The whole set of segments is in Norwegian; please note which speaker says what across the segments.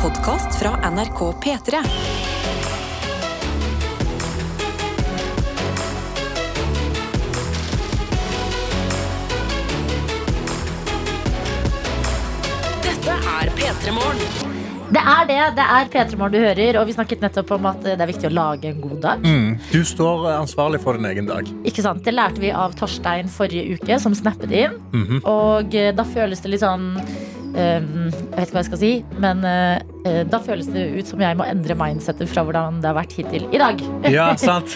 Speaker 1: podkast fra NRK P3. Dette er P3 Morgen.
Speaker 2: Det er det. Det er P3 Morgen du hører, og vi snakket nettopp om at det er viktig å lage en god dag.
Speaker 3: Mm. Du står ansvarlig for din egen dag.
Speaker 2: Ikke sant? Det lærte vi av Torstein forrige uke, som snappet inn.
Speaker 3: Mhm.
Speaker 2: Og eh, da føles det litt sånn eh, Jeg vet ikke hva jeg skal si, men eh, eh, da føles det ut som jeg må endre mindsetet fra hvordan det har vært hittil i dag.
Speaker 3: Ja, sant?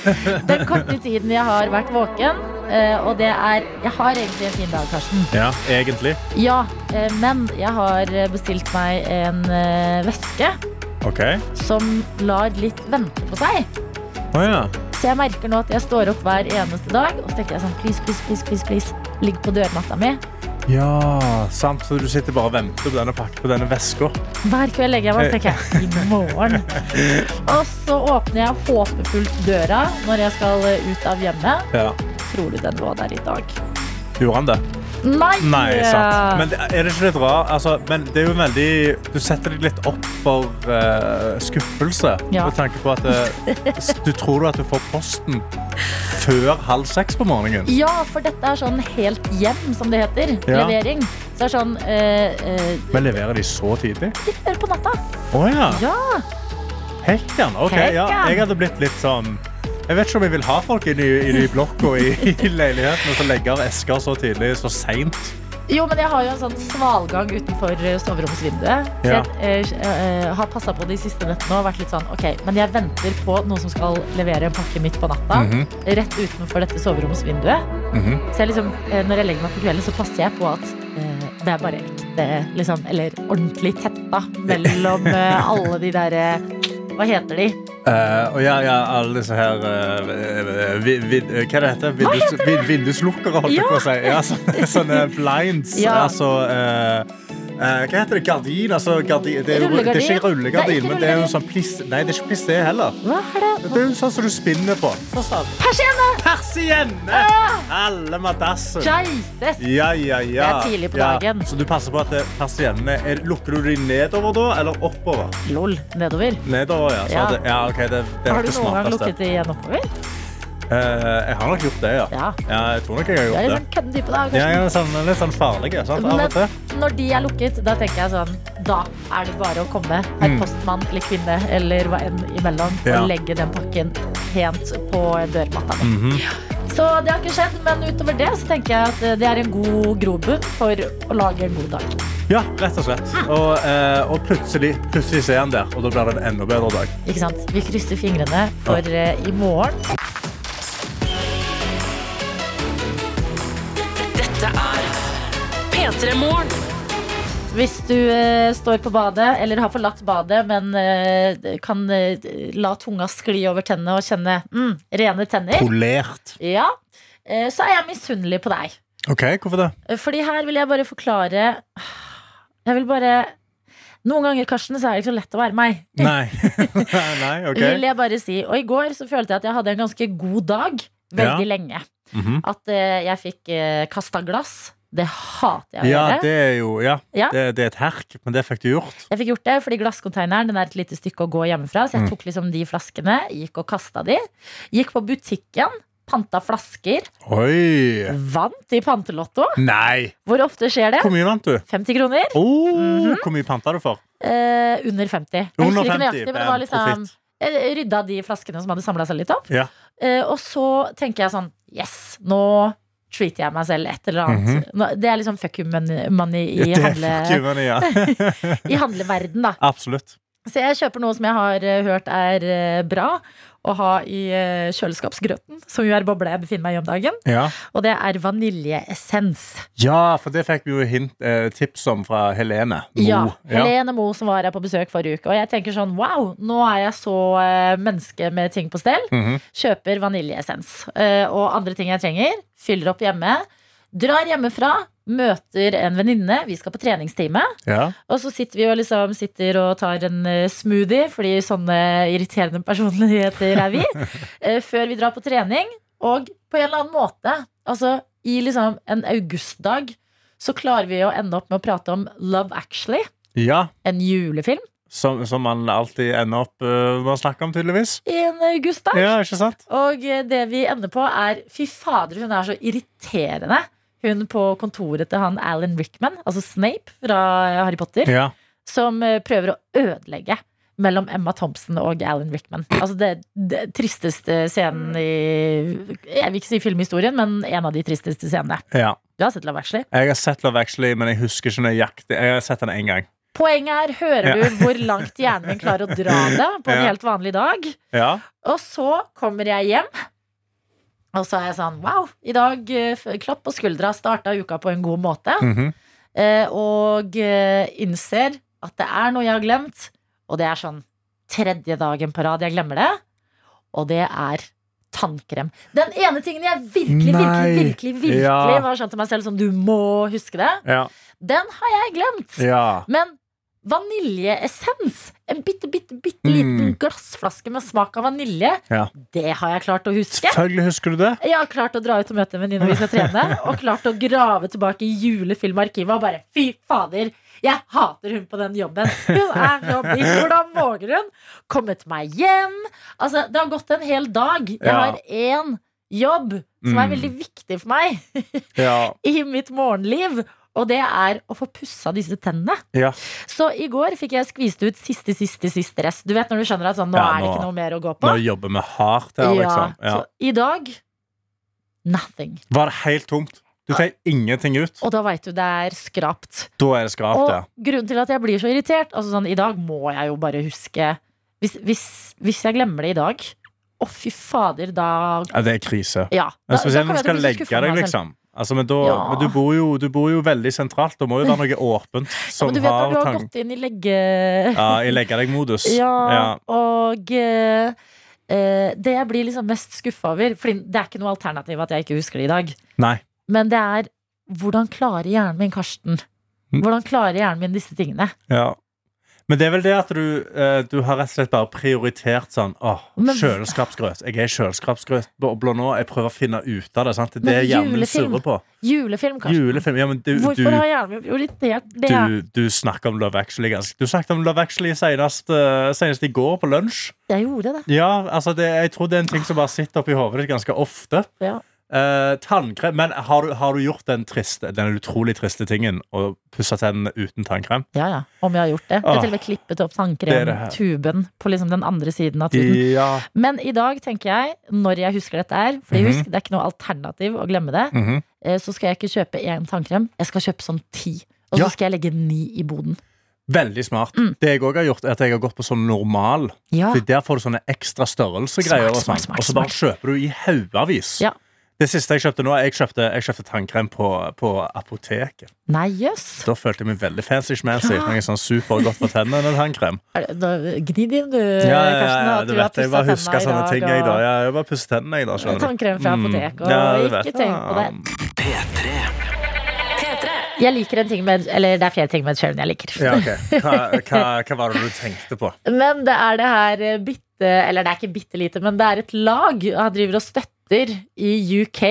Speaker 2: Den korte tiden jeg har vært våken, eh, og det er Jeg har egentlig en fin dag, Karsten.
Speaker 3: ja, egentlig.
Speaker 2: Ja, eh, men jeg har bestilt meg en eh, veske
Speaker 3: Ok.
Speaker 2: som lar litt vente på seg.
Speaker 3: Å ja.
Speaker 2: Så jeg merker nå at jeg står opp hver eneste dag og så tenker jeg sånn please, please, please, please, please. Ligg på dørmatta mi.
Speaker 3: Ja, sant. Så du sitter bare og venter på denne pakken på denne veska.
Speaker 2: Hver kveld legger jeg meg og tenker jeg, i morgen. Og så åpner jeg håpefullt døra når jeg skal eh, ut av hjemmet.
Speaker 3: Ja.
Speaker 2: Tror du den lå der i dag?
Speaker 3: Gjorde han det?
Speaker 2: Nei!
Speaker 3: Nei, sant. Men det- er det ikke litt rar? Altså, men det er jo veldig Du setter deg litt opp for eh, skuffelse
Speaker 2: Ja.
Speaker 3: med tanke på at eh, s- du tror du at du får posten før halv seks på morgenen.
Speaker 2: Ja, for dette er sånn helt hjem, som det heter.
Speaker 3: Ja.
Speaker 2: Levering. Så det er sånn eh, eh,
Speaker 3: Men leverer de så tidlig?
Speaker 2: litt mer på natta.
Speaker 3: Å ja.
Speaker 2: Ja.
Speaker 3: Hekkan. Ok, ja.
Speaker 2: Hekkan.
Speaker 3: Jeg hadde blitt litt sånn jeg vet ikke om jeg vil ha folk inni, inni blokka og i, i leiligheten som legger esker så tidlig, så seint.
Speaker 2: Jo, men jeg har jo en sånn svalgang utenfor eh, soveromsvinduet. Så
Speaker 3: Ja.
Speaker 2: jeg eh, eh, har passa på de siste nettene og vært litt sånn OK, men jeg venter på noen som skal levere en pakke midt på natta.
Speaker 3: Mhm.
Speaker 2: Rett utenfor dette soveromsvinduet.
Speaker 3: Mhm.
Speaker 2: Så jeg liksom, eh, når jeg legger meg på kvelden, så passer jeg på at eh, det er bare ekte, liksom, eller ordentlig tetta mellom eh, alle de derre Hva heter de?
Speaker 3: Eh, og ja, ja, alle disse her eh, vi, vi, Hva det heter det? Vindus, vi, vinduslukkere, holdt jeg
Speaker 2: Ja.
Speaker 3: på å si. Ja, sånne, sånne blinds.
Speaker 2: Ja.
Speaker 3: Altså eh, eh, Hva heter det? Gardin? Altså, gardi- det, er, jo- det er
Speaker 2: Rullegardin.
Speaker 3: ikke
Speaker 2: Det er
Speaker 3: rullegardin,
Speaker 2: ikke
Speaker 3: men det er jo
Speaker 2: rullegardin.
Speaker 3: sånn pliss... Nei, det er ikke plissé heller.
Speaker 2: Hva er det?
Speaker 3: Det er jo sånn som du spinner på. Sånn som-
Speaker 2: Persienne!
Speaker 3: Persienne! Alle madasser.
Speaker 2: Jesus!
Speaker 3: Ja, ja, ja.
Speaker 2: Det er tidlig på dagen.
Speaker 3: Ja. Så du passer på at eh, persiennene er- Lukker du de nedover da, eller oppover?
Speaker 2: Lol. Nedover.
Speaker 3: Nedover, ja. Så
Speaker 2: Ja.
Speaker 3: Det, ja ok, det, det er
Speaker 2: Har du
Speaker 3: det
Speaker 2: noen gang
Speaker 3: smarteste.
Speaker 2: lukket de igjen oppover?
Speaker 3: Eh, jeg har nok gjort det, ja.
Speaker 2: Ja.
Speaker 3: jeg tror nok jeg har
Speaker 2: Du er litt
Speaker 3: gjort det.
Speaker 2: sånn kødden type, da. Karsten.
Speaker 3: Ja, jeg er sånn, litt sånn farlig. Sant? Av og til.
Speaker 2: Men når de er lukket, da tenker jeg sånn Da er det bare å komme, herr
Speaker 3: Mm.
Speaker 2: postmann eller kvinne eller hva enn imellom,
Speaker 3: Ja.
Speaker 2: og legge den pakken pent på dørmatta mi.
Speaker 3: Mhm.
Speaker 2: Så det har ikke skjedd, men utover det så tenker jeg at eh, det er en god grobunn for å lage en god dag.
Speaker 3: Ja, rett og slett.
Speaker 2: Hm.
Speaker 3: Og, eh, og plutselig, plutselig ser han der, og da blir det en enda bedre dag.
Speaker 2: Ikke sant? Vi krysser fingrene for eh, i morgen.
Speaker 1: Dette er P3 Morgen.
Speaker 2: Hvis du eh, står på badet, eller har forlatt badet, men eh, kan eh, la tunga skli over tennene og kjenne mm, rene tenner,
Speaker 3: Polert.
Speaker 2: ja, eh, så er jeg misunnelig på deg.
Speaker 3: OK, hvorfor det?
Speaker 2: Fordi her vil jeg bare forklare Jeg vil bare Noen ganger, Karsten, så er det ikke så lett å være meg.
Speaker 3: Nei. Nei, OK.
Speaker 2: Vil jeg bare si Og i går så følte jeg at jeg hadde en ganske god dag veldig lenge.
Speaker 3: Mhm.
Speaker 2: At eh, jeg fikk uh, kasta glass. Det hater jeg å
Speaker 3: Ja,
Speaker 2: gjøre.
Speaker 3: det er jo Ja,
Speaker 2: Ja.
Speaker 3: det, det er et herk, men det fikk du gjort.
Speaker 2: Jeg fikk gjort det fordi glasskonteineren den er et lite stykke å gå hjemmefra.
Speaker 3: Mm.
Speaker 2: Så jeg tok liksom de flaskene, gikk og kasta de. Gikk på butikken, panta flasker.
Speaker 3: Oi.
Speaker 2: Vant i pantelotto.
Speaker 3: Nei.
Speaker 2: Hvor ofte skjer det?
Speaker 3: Hvor mye vant du?
Speaker 2: 50 kroner.
Speaker 3: Oh, Hvor mye panta du for?
Speaker 2: Eh, under 50. Mm-hmm. Jeg husker
Speaker 3: Under
Speaker 2: ikke
Speaker 3: 50.
Speaker 2: nøyaktig, men det var
Speaker 3: men
Speaker 2: liksom
Speaker 3: profitt.
Speaker 2: Jeg rydda de flaskene som hadde samla seg litt opp.
Speaker 3: Ja.
Speaker 2: Eh, og så tenker jeg sånn Yes, nå treater jeg meg selv et eller annet. Nå- Det er liksom fuck you money, money i,
Speaker 3: Mhm. Det er
Speaker 2: handle,
Speaker 3: fuck you, men ja.
Speaker 2: i handleverden, da.
Speaker 3: Absolutt.
Speaker 2: Så jeg kjøper noe som jeg har eh, hørt er eh, bra å ha i eh, kjøleskapsgrøten, som jo er bobla jeg befinner meg i om dagen.
Speaker 3: Ja.
Speaker 2: Og det er vaniljeessens.
Speaker 3: Ja, for det fikk vi jo hint, eh, tips om fra Helene. Mo.
Speaker 2: Ja,
Speaker 3: Ja.
Speaker 2: Helene Moe som var her på besøk forrige uke. Og jeg tenker sånn, wow, nå er jeg så eh, menneske med ting på stell.
Speaker 3: Mhm.
Speaker 2: Kjøper vaniljeessens eh, og andre ting jeg trenger. Fyller opp hjemme. Drar hjemmefra. Møter en venninne. Vi skal på treningstime.
Speaker 3: ja.
Speaker 2: Og så sitter vi og liksom sitter og tar en eh, smoothie, fordi sånne irriterende personligheter er vi. eh, før vi drar på trening. Og på en eller annen måte, altså i liksom en augustdag, så klarer vi å ende opp med å prate om Love Actually,
Speaker 3: ja.
Speaker 2: en julefilm.
Speaker 3: Som, som man alltid ender opp eh, med å snakke om, tydeligvis.
Speaker 2: I en augustdag.
Speaker 3: Ja, ikke sant?
Speaker 2: Og eh, det vi ender på, er Fy fader, hun er så irriterende. Hun på kontoret til han Alan Rickman, altså Snape fra eh, Harry Potter,
Speaker 3: Ja.
Speaker 2: som eh, prøver å ødelegge mellom Emma Thompson og Alan Rickman. Altså det, det tristeste scenen i Jeg vil ikke si filmhistorien, men en av de tristeste scenene.
Speaker 3: ja.
Speaker 2: Du har sett Love Actually.
Speaker 3: Jeg har sett Love Actually, men jeg husker ikke nøyaktig. Jeg har sett den én gang.
Speaker 2: Poenget er, hører du hvor langt hjernen min klarer å dra det på en
Speaker 3: Ja.
Speaker 2: helt vanlig dag?
Speaker 3: Ja.
Speaker 2: Og så kommer jeg hjem Og så er jeg sånn, wow I dag, eh, f- klapp på skuldra Startet uka på en god måte
Speaker 3: Mhm.
Speaker 2: eh, Og eh, innser At det er noe jeg har glemt Og det er sånn, tredje dagen på rad Jeg glemmer det Og det er tannkrem Den ene tingen jeg virkelig,
Speaker 3: Nei.
Speaker 2: virkelig, virkelig, virkelig
Speaker 3: Ja.
Speaker 2: Var sånn til meg selv, sånn, du må huske det
Speaker 3: ja.
Speaker 2: Den har jeg glemt
Speaker 3: Ja.
Speaker 2: men vaniljeessens, en bitte, bitte, bitte liten
Speaker 3: Mm.
Speaker 2: glassflaske med smak av vanilje,
Speaker 3: Ja.
Speaker 2: det har jeg klart å huske.
Speaker 3: Selvfølgelig husker du det.
Speaker 2: Jeg har klart å dra ut og møte en venninne vi skal trene, og klart å grave tilbake i julefilmarkivet og bare fy fader, jeg hater hun på den jobben. Hun er så digg. Hvordan våger hun? Kommet meg hjem. Altså, det har gått en hel dag. Jeg
Speaker 3: Ja.
Speaker 2: har én jobb som er
Speaker 3: Mm.
Speaker 2: veldig viktig for meg
Speaker 3: Ja.
Speaker 2: i mitt morgenliv, og det er å få pussa disse tennene.
Speaker 3: Ja.
Speaker 2: Så i går fikk jeg skvist ut siste, siste, siste rest. Du vet når du skjønner at sånn, nå
Speaker 3: Ja,
Speaker 2: er det
Speaker 3: nå-
Speaker 2: ikke noe mer å gå på.
Speaker 3: Nå jobber vi hardt her, liksom. Ja.
Speaker 2: Så i dag nothing.
Speaker 3: Var det helt tomt? Du fikk ingenting ut?
Speaker 2: Og da veit du det er skrapt.
Speaker 3: Da er det skrapt,
Speaker 2: Og
Speaker 3: ja.
Speaker 2: grunnen til at jeg blir så irritert Altså sånn, I dag må jeg jo bare huske Hvis, hvis, hvis jeg glemmer det i dag Å, fy fader, da
Speaker 3: ja. Det er krise.
Speaker 2: Ja.
Speaker 3: Men
Speaker 2: da-
Speaker 3: spesielt
Speaker 2: da
Speaker 3: når du
Speaker 2: kan jeg
Speaker 3: skal
Speaker 2: bli så
Speaker 3: legge
Speaker 2: skuffet
Speaker 3: deg,
Speaker 2: av meg selv.
Speaker 3: liksom. Altså, men da,
Speaker 2: Ja.
Speaker 3: men du, bor jo, du bor jo veldig sentralt. Det må jo være noe åpent
Speaker 2: Ja,
Speaker 3: som
Speaker 2: men du vet når du
Speaker 3: har
Speaker 2: har
Speaker 3: tang...
Speaker 2: gått inn i legge...
Speaker 3: Ja, i legge deg-modus.
Speaker 2: Ja, og eh, eh, det jeg blir liksom mest skuffa over For det er ikke noe alternativ at jeg ikke husker det i dag.
Speaker 3: Nei.
Speaker 2: Men det er hvordan klarer hjernen min Karsten?
Speaker 3: Mm.
Speaker 2: Hvordan klarer hjernen min disse tingene?
Speaker 3: Ja. Men det er vel det at du, eh, du har rett og slett bare prioritert sånn Åh,
Speaker 2: Men-
Speaker 3: kjøleskapsgrøt. Jeg er kjøleskapsgrøtblå nå. Jeg prøver å finne ut av det. sant? Det er
Speaker 2: Men
Speaker 3: det hjernen min
Speaker 2: julefilm,
Speaker 3: surrer på.
Speaker 2: Julefilm, Karsten.
Speaker 3: Julefilm. Ja, men du,
Speaker 2: Hvorfor
Speaker 3: du,
Speaker 2: har hjernen min prioritert det?
Speaker 3: du, du snakker om Love Actually ganske Du snakket om Love Actually senest, eh, senest i går på lunsj.
Speaker 2: Jeg gjorde det.
Speaker 3: Ja, altså det, jeg tror det er en ting som bare sitter oppi hodet ditt ganske ofte.
Speaker 2: Ja.
Speaker 3: Eh, tannkrem, Men har du, har du gjort den, triste, den utrolig triste tingen å pusse tennene uten tannkrem?
Speaker 2: ja ja, om jeg har gjort det. Jeg
Speaker 3: Åh.
Speaker 2: har til og med klippet opp
Speaker 3: Det er det Ah. her.
Speaker 2: tannkremtuben på liksom den andre siden av tuten.
Speaker 3: Ja.
Speaker 2: Men i dag tenker jeg, når jeg husker dette her For
Speaker 3: Mhm.
Speaker 2: husk, det er ikke noe alternativ å glemme det.
Speaker 3: Mhm.
Speaker 2: eh, så skal jeg ikke kjøpe én tannkrem, jeg skal kjøpe sånn ti. Og
Speaker 3: Ja.
Speaker 2: så skal jeg legge ni i boden.
Speaker 3: Veldig smart.
Speaker 2: Mm.
Speaker 3: Det jeg også har gjort, er at jeg har gått på sånn normal.
Speaker 2: Ja.
Speaker 3: For der får du sånne ekstra størrelsegreier,
Speaker 2: Smart,
Speaker 3: og, sånn.
Speaker 2: smart, smart,
Speaker 3: og så bare kjøper du i haugavis.
Speaker 2: Ja.
Speaker 3: Det siste jeg kjøpte nå, jeg kjøpte, jeg kjøpte tannkrem på, på apoteket.
Speaker 2: Nei, jøss.
Speaker 3: Da følte jeg meg veldig fancy-schmancy.
Speaker 2: Ja.
Speaker 3: Noe sånn supergodt for tennene, tannkrem.
Speaker 2: Er det- da- Gni din, du,
Speaker 3: Ja, ja, ja,
Speaker 2: Karsten.
Speaker 3: ja,
Speaker 2: at du
Speaker 3: du
Speaker 2: har
Speaker 3: vet, jeg bare
Speaker 2: pusset
Speaker 3: husker sånne
Speaker 2: tenna i
Speaker 3: ting, jeg,
Speaker 2: dag,
Speaker 3: da.
Speaker 2: og
Speaker 3: Ja, jeg bare pusser tennene, jeg, da. skjønner du.
Speaker 2: Tannkrem fra
Speaker 3: Mm.
Speaker 2: apotek. Og
Speaker 3: Ja, du
Speaker 2: ikke
Speaker 3: vet.
Speaker 2: tenk på
Speaker 3: Ja.
Speaker 2: det.
Speaker 1: P3.
Speaker 2: Jeg liker en ting med Eller det er flere ting med kjølen jeg liker.
Speaker 3: Ja, ok. Hva, hva, hva var det du tenkte på?
Speaker 2: Men det er det her eh, bitte Eller det er ikke bitte lite, men det er et lag han driver og støtter i UK.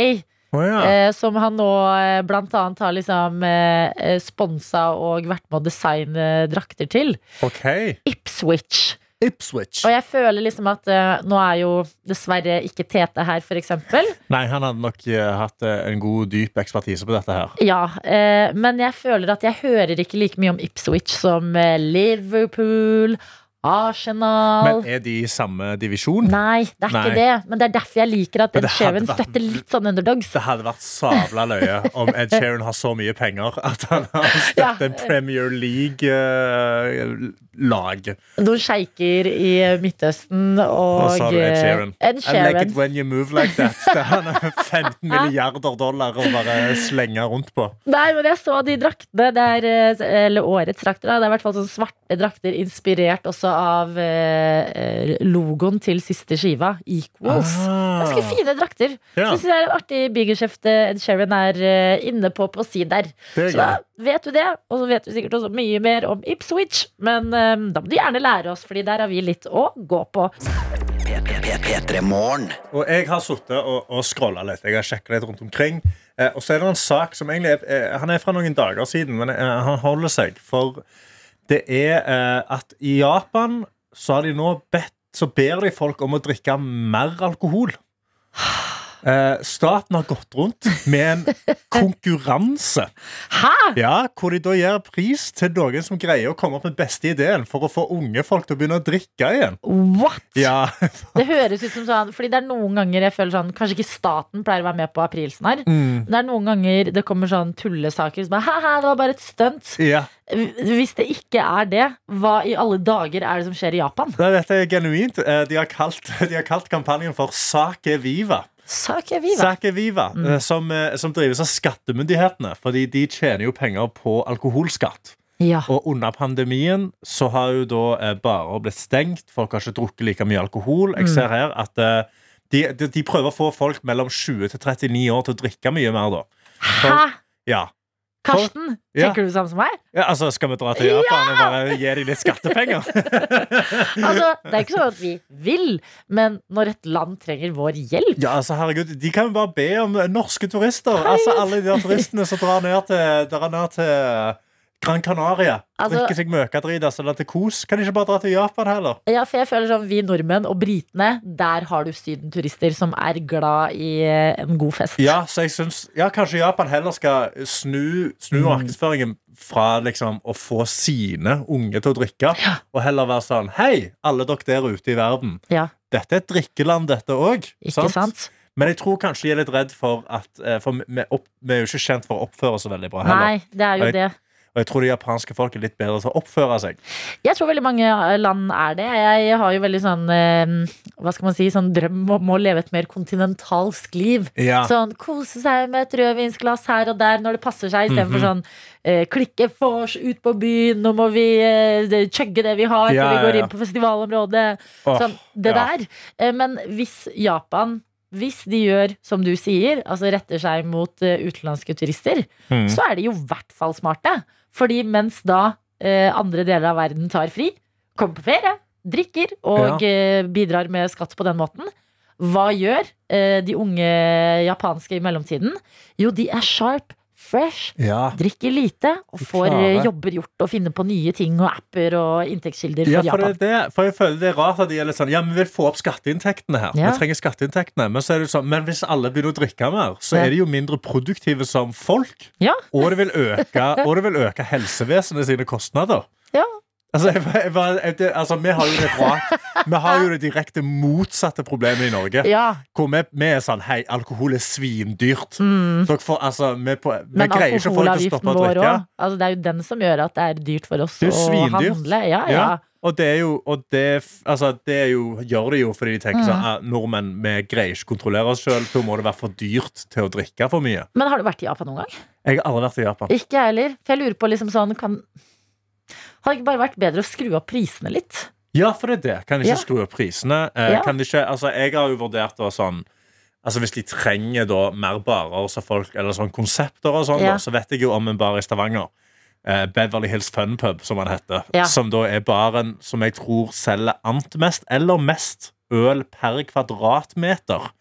Speaker 3: Å ja.
Speaker 2: Eh, som han nå eh, blant annet har liksom eh, eh, sponsa og vært med å designe drakter til.
Speaker 3: OK.
Speaker 2: Ipswich.
Speaker 3: Ipswich.
Speaker 2: Og jeg føler liksom at eh, nå er jo dessverre ikke Tete her, for eksempel.
Speaker 3: Nei, han hadde nok eh, hatt eh, en god, dyp ekspertise på dette her.
Speaker 2: Ja, eh, men jeg føler at jeg hører ikke like mye om Ipswich som eh, Liverpool, Arsenal
Speaker 3: Men er de i samme divisjon?
Speaker 2: Nei, det er
Speaker 3: Nei.
Speaker 2: ikke det. Men det er derfor jeg liker at
Speaker 3: Men
Speaker 2: Ed
Speaker 3: det hadde
Speaker 2: Sheeran
Speaker 3: vært-
Speaker 2: støtter litt sånn underdogs.
Speaker 3: Det hadde vært sabla løye om Ed Sheeran har så mye penger at han har støttet en
Speaker 2: Ja.
Speaker 3: Premier eh, League-lag.
Speaker 2: Noen sjeiker i Midtøsten og
Speaker 3: Og så har du Ed
Speaker 2: eh,
Speaker 3: Sheeran.
Speaker 2: Ed
Speaker 3: I like it
Speaker 2: Sheeran.
Speaker 3: when you move like that. Det han har 15 milliarder dollar å bare slenge rundt på.
Speaker 2: Nei, men jeg så de draktene. Det er, eh, eller årets drakter. Da. Det er i hvert fall sånn svarte drakter inspirert også av eh, eh, logoen til siste skiva, Equals. Ganske fine drakter.
Speaker 3: Ah. Ja.
Speaker 2: Synes det er en artig biggerskjeft Ed Sheeran er eh, inne på på si der.
Speaker 3: Det er
Speaker 2: Så da
Speaker 3: gøy.
Speaker 2: vet du det, og så vet du sikkert også mye mer om Ipswich. Men eh, da må du gjerne lære oss, Fordi der har vi litt å gå på.
Speaker 3: Og jeg har sittet og, og scrolla litt. Jeg har sjekket litt rundt omkring. Eh, og så er det en sak som egentlig er, eh, Han er fra noen dager siden, men eh, han holder seg. For Det er eh, at i Japan så har de nå bedt Så ber de folk om å drikke mer alkohol. Eh, staten har gått rundt med en konkurranse.
Speaker 2: Hæ?!
Speaker 3: Ja, Hvor de da gir pris til noen som greier å komme opp med beste ideen for å få unge folk til å begynne å drikke igjen.
Speaker 2: What?!
Speaker 3: Ja,
Speaker 2: Det høres ut som sånn Fordi det er noen ganger jeg føler sånn Kanskje ikke staten pleier å være med på aprilsnarr. Men Det er noen ganger det kommer sånn tullesaker som er Haha, det var bare et stunt.
Speaker 3: ja.
Speaker 2: Hvis det ikke er det, hva i alle dager er det som skjer i Japan?
Speaker 3: Nei, Dette er genuint. Eh, De har kalt, de har kalt kampanjen for Sake Viva.
Speaker 2: Sake viva.
Speaker 3: Sake Viva, eh, som, eh, som drives av skattemyndighetene. Fordi de tjener jo penger på alkoholskatt.
Speaker 2: Ja.
Speaker 3: Og under pandemien så har jo da eh, barer blitt stengt. Folk har ikke drukket like mye alkohol. Jeg ser her at eh, de, de, de prøver å få folk mellom 20 til 39 år til å drikke mye mer, da.
Speaker 2: Hæ?
Speaker 3: Ja.
Speaker 2: Karsten,
Speaker 3: Ja.
Speaker 2: tenker du det samme som meg?
Speaker 3: ja altså, skal vi dra til Japan og bare gi dem litt skattepenger?
Speaker 2: Altså, Det er ikke sånn at vi vil, men når et land trenger vår hjelp
Speaker 3: Ja, altså herregud, De kan jo bare be om norske turister. Altså Alle de der turistene som drar ned til, drar ned til Gran Canaria.
Speaker 2: Altså-
Speaker 3: drikker seg møkadrita eller til kos. Kan de ikke bare dra til Japan heller?
Speaker 2: Ja, for jeg føler sånn, Vi nordmenn og britene, der har du sydenturister som er glad i eh, en god fest.
Speaker 3: Ja, så jeg synes, ja, Kanskje Japan heller skal snu, snu markedsføringen fra liksom å få sine unge til å drikke, og heller være sånn Hei, alle dere der ute i verden.
Speaker 2: Ja,
Speaker 3: Dette er et drikkeland, dette òg.
Speaker 2: ikke sant?
Speaker 3: Men jeg tror kanskje de er litt redd for at eh, For vi, opp, vi er jo ikke kjent for å oppføre oss så veldig bra heller.
Speaker 2: Nei, det er jo
Speaker 3: Jeg-
Speaker 2: det.
Speaker 3: Og jeg tror det japanske folk er litt bedre til å oppføre seg.
Speaker 2: Jeg tror veldig mange eh, land er det. Jeg har jo veldig sånn eh, Hva skal man si, sånn drøm om å leve et mer kontinentalsk liv.
Speaker 3: Ja.
Speaker 2: Sånn kose seg med et rødvinsglass her og der når det passer seg, istedenfor
Speaker 3: Mhm.
Speaker 2: sånn eh, klikke vors ut på byen, nå må vi eh, det- chugge det vi har før
Speaker 3: Ja,
Speaker 2: vi går
Speaker 3: ja, ja.
Speaker 2: inn på festivalområdet.
Speaker 3: Åh,
Speaker 2: sånn, det
Speaker 3: ja.
Speaker 2: der. Eh, men hvis Japan hvis de gjør som du sier, altså retter seg mot eh, utenlandske turister,
Speaker 3: Mm.
Speaker 2: så er de jo i hvert fall smarte. Fordi mens da eh, andre deler av verden tar fri, kommer på ferie, drikker og eh, bidrar med skatt på den måten, hva gjør eh, de unge japanske i mellomtiden? Jo, de er sharp, fresh,
Speaker 3: Ja.
Speaker 2: drikker lite og
Speaker 3: De
Speaker 2: får
Speaker 3: klarer.
Speaker 2: eh, jobber gjort og finner på nye ting og apper og inntektskilder for
Speaker 3: Ja, for,
Speaker 2: Japan.
Speaker 3: det, er det, for jeg føler det er rart at de er litt sånn Ja, vi vil få opp skatteinntektene her.
Speaker 2: Ja.
Speaker 3: Vi trenger skatteinntektene Men så er det sånn, men hvis alle begynner å drikke mer, så
Speaker 2: Ja.
Speaker 3: er de jo mindre produktive som folk.
Speaker 2: Ja.
Speaker 3: Og det vil øke, og det vil øke helsevesenet sine kostnader.
Speaker 2: Ja.
Speaker 3: Altså, jeg, bare- jeg, bare- jeg, det, altså vi, har jo det rart, vi har jo det direkte motsatte problemet i Norge.
Speaker 2: Ja,
Speaker 3: Hvor vi, vi er sånn Hei, alkohol er svindyrt. Dere får, altså, vi, på, vi
Speaker 2: Mm. men
Speaker 3: greier ikke å få folk til å
Speaker 2: alkoholavgiften
Speaker 3: stoppe å
Speaker 2: vår
Speaker 3: drikke.
Speaker 2: òg. Altså, det er jo den som gjør at det er dyrt for oss
Speaker 3: Det
Speaker 2: å
Speaker 3: er jo svindyrt.
Speaker 2: handle. Ja, ja.
Speaker 3: Ja, Og det er jo, og det, er f- altså, det er jo, gjør de jo fordi de tenker
Speaker 2: Mm.
Speaker 3: sånn ah, Nordmenn, vi greier ikke å kontrollere oss sjøl. Da må det være for dyrt til å drikke for mye.
Speaker 2: Men har du vært i Japan noen gang?
Speaker 3: Jeg har aldri vært i Japan.
Speaker 2: Ikke jeg heller. For jeg lurer på liksom sånn kan... Hadde det ikke bare vært bedre å skru opp prisene litt?
Speaker 3: Ja, for det er det. Kan de
Speaker 2: Ja.
Speaker 3: ikke skru opp prisene? Eh,
Speaker 2: Ja.
Speaker 3: Kan de ikke, altså, jeg har jo vurdert da sånn Altså Hvis de trenger da mer barer så folk, eller sånn konsepter, og sånn
Speaker 2: Ja.
Speaker 3: da, så vet jeg jo om en bar i Stavanger. Eh, Beverly Hills Fun Pub, som han heter.
Speaker 2: Ja.
Speaker 3: Som da er baren som jeg tror selger ant mest, eller mest, øl per kvadratmeter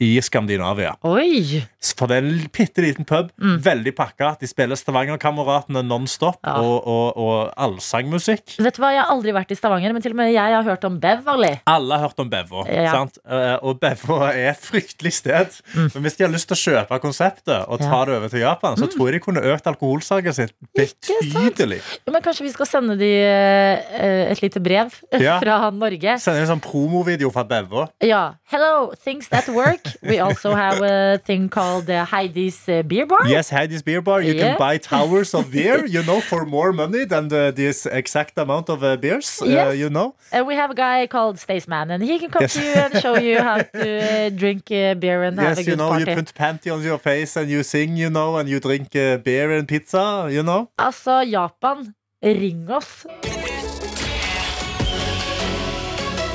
Speaker 3: i Skandinavia.
Speaker 2: Oi!
Speaker 3: For det er en bitte liten pub. Veldig pakka. De spiller Stavangerkameratene nonstop
Speaker 2: Mm. Ja.
Speaker 3: og, og, og allsangmusikk.
Speaker 2: Vet du hva, Jeg har aldri vært i Stavanger, men til og med jeg har hørt om Beverly.
Speaker 3: Alle har hørt om Bevo,
Speaker 2: Ja. Mm.
Speaker 3: sant? Eh, og Bevo er et fryktelig sted. Men hvis de har lyst til å kjøpe konseptet og ta
Speaker 2: Ja. Mm.
Speaker 3: det over til Japan, så tror jeg de kunne økt alkoholsalget sitt betydelig.
Speaker 2: Jo, Men Kanskje vi skal sende de eh, et lite brev
Speaker 3: Ja.
Speaker 2: fra Norge?
Speaker 3: Sende en sånn promovideo fra Bevo.
Speaker 2: Ja. Hello, things that work. We also have a thing called eh, Heidi's eh, Beer Bar.
Speaker 3: Yes, Heidi's beer bar. You
Speaker 2: Yeah.
Speaker 3: can buy towers of beer, you know, for more money than the, this exact amount of uh, beers, uh,
Speaker 2: Yes.
Speaker 3: you know.
Speaker 2: And we have a guy called Staceman, and he can come
Speaker 3: Yes.
Speaker 2: to you and show you how to eh, drink eh, beer and have a good
Speaker 3: Yes, you know, you
Speaker 2: party.
Speaker 3: put panty on your face and you sing, you know, and you drink uh, beer and pizza, you know.
Speaker 2: Altså, Japan, ring oss.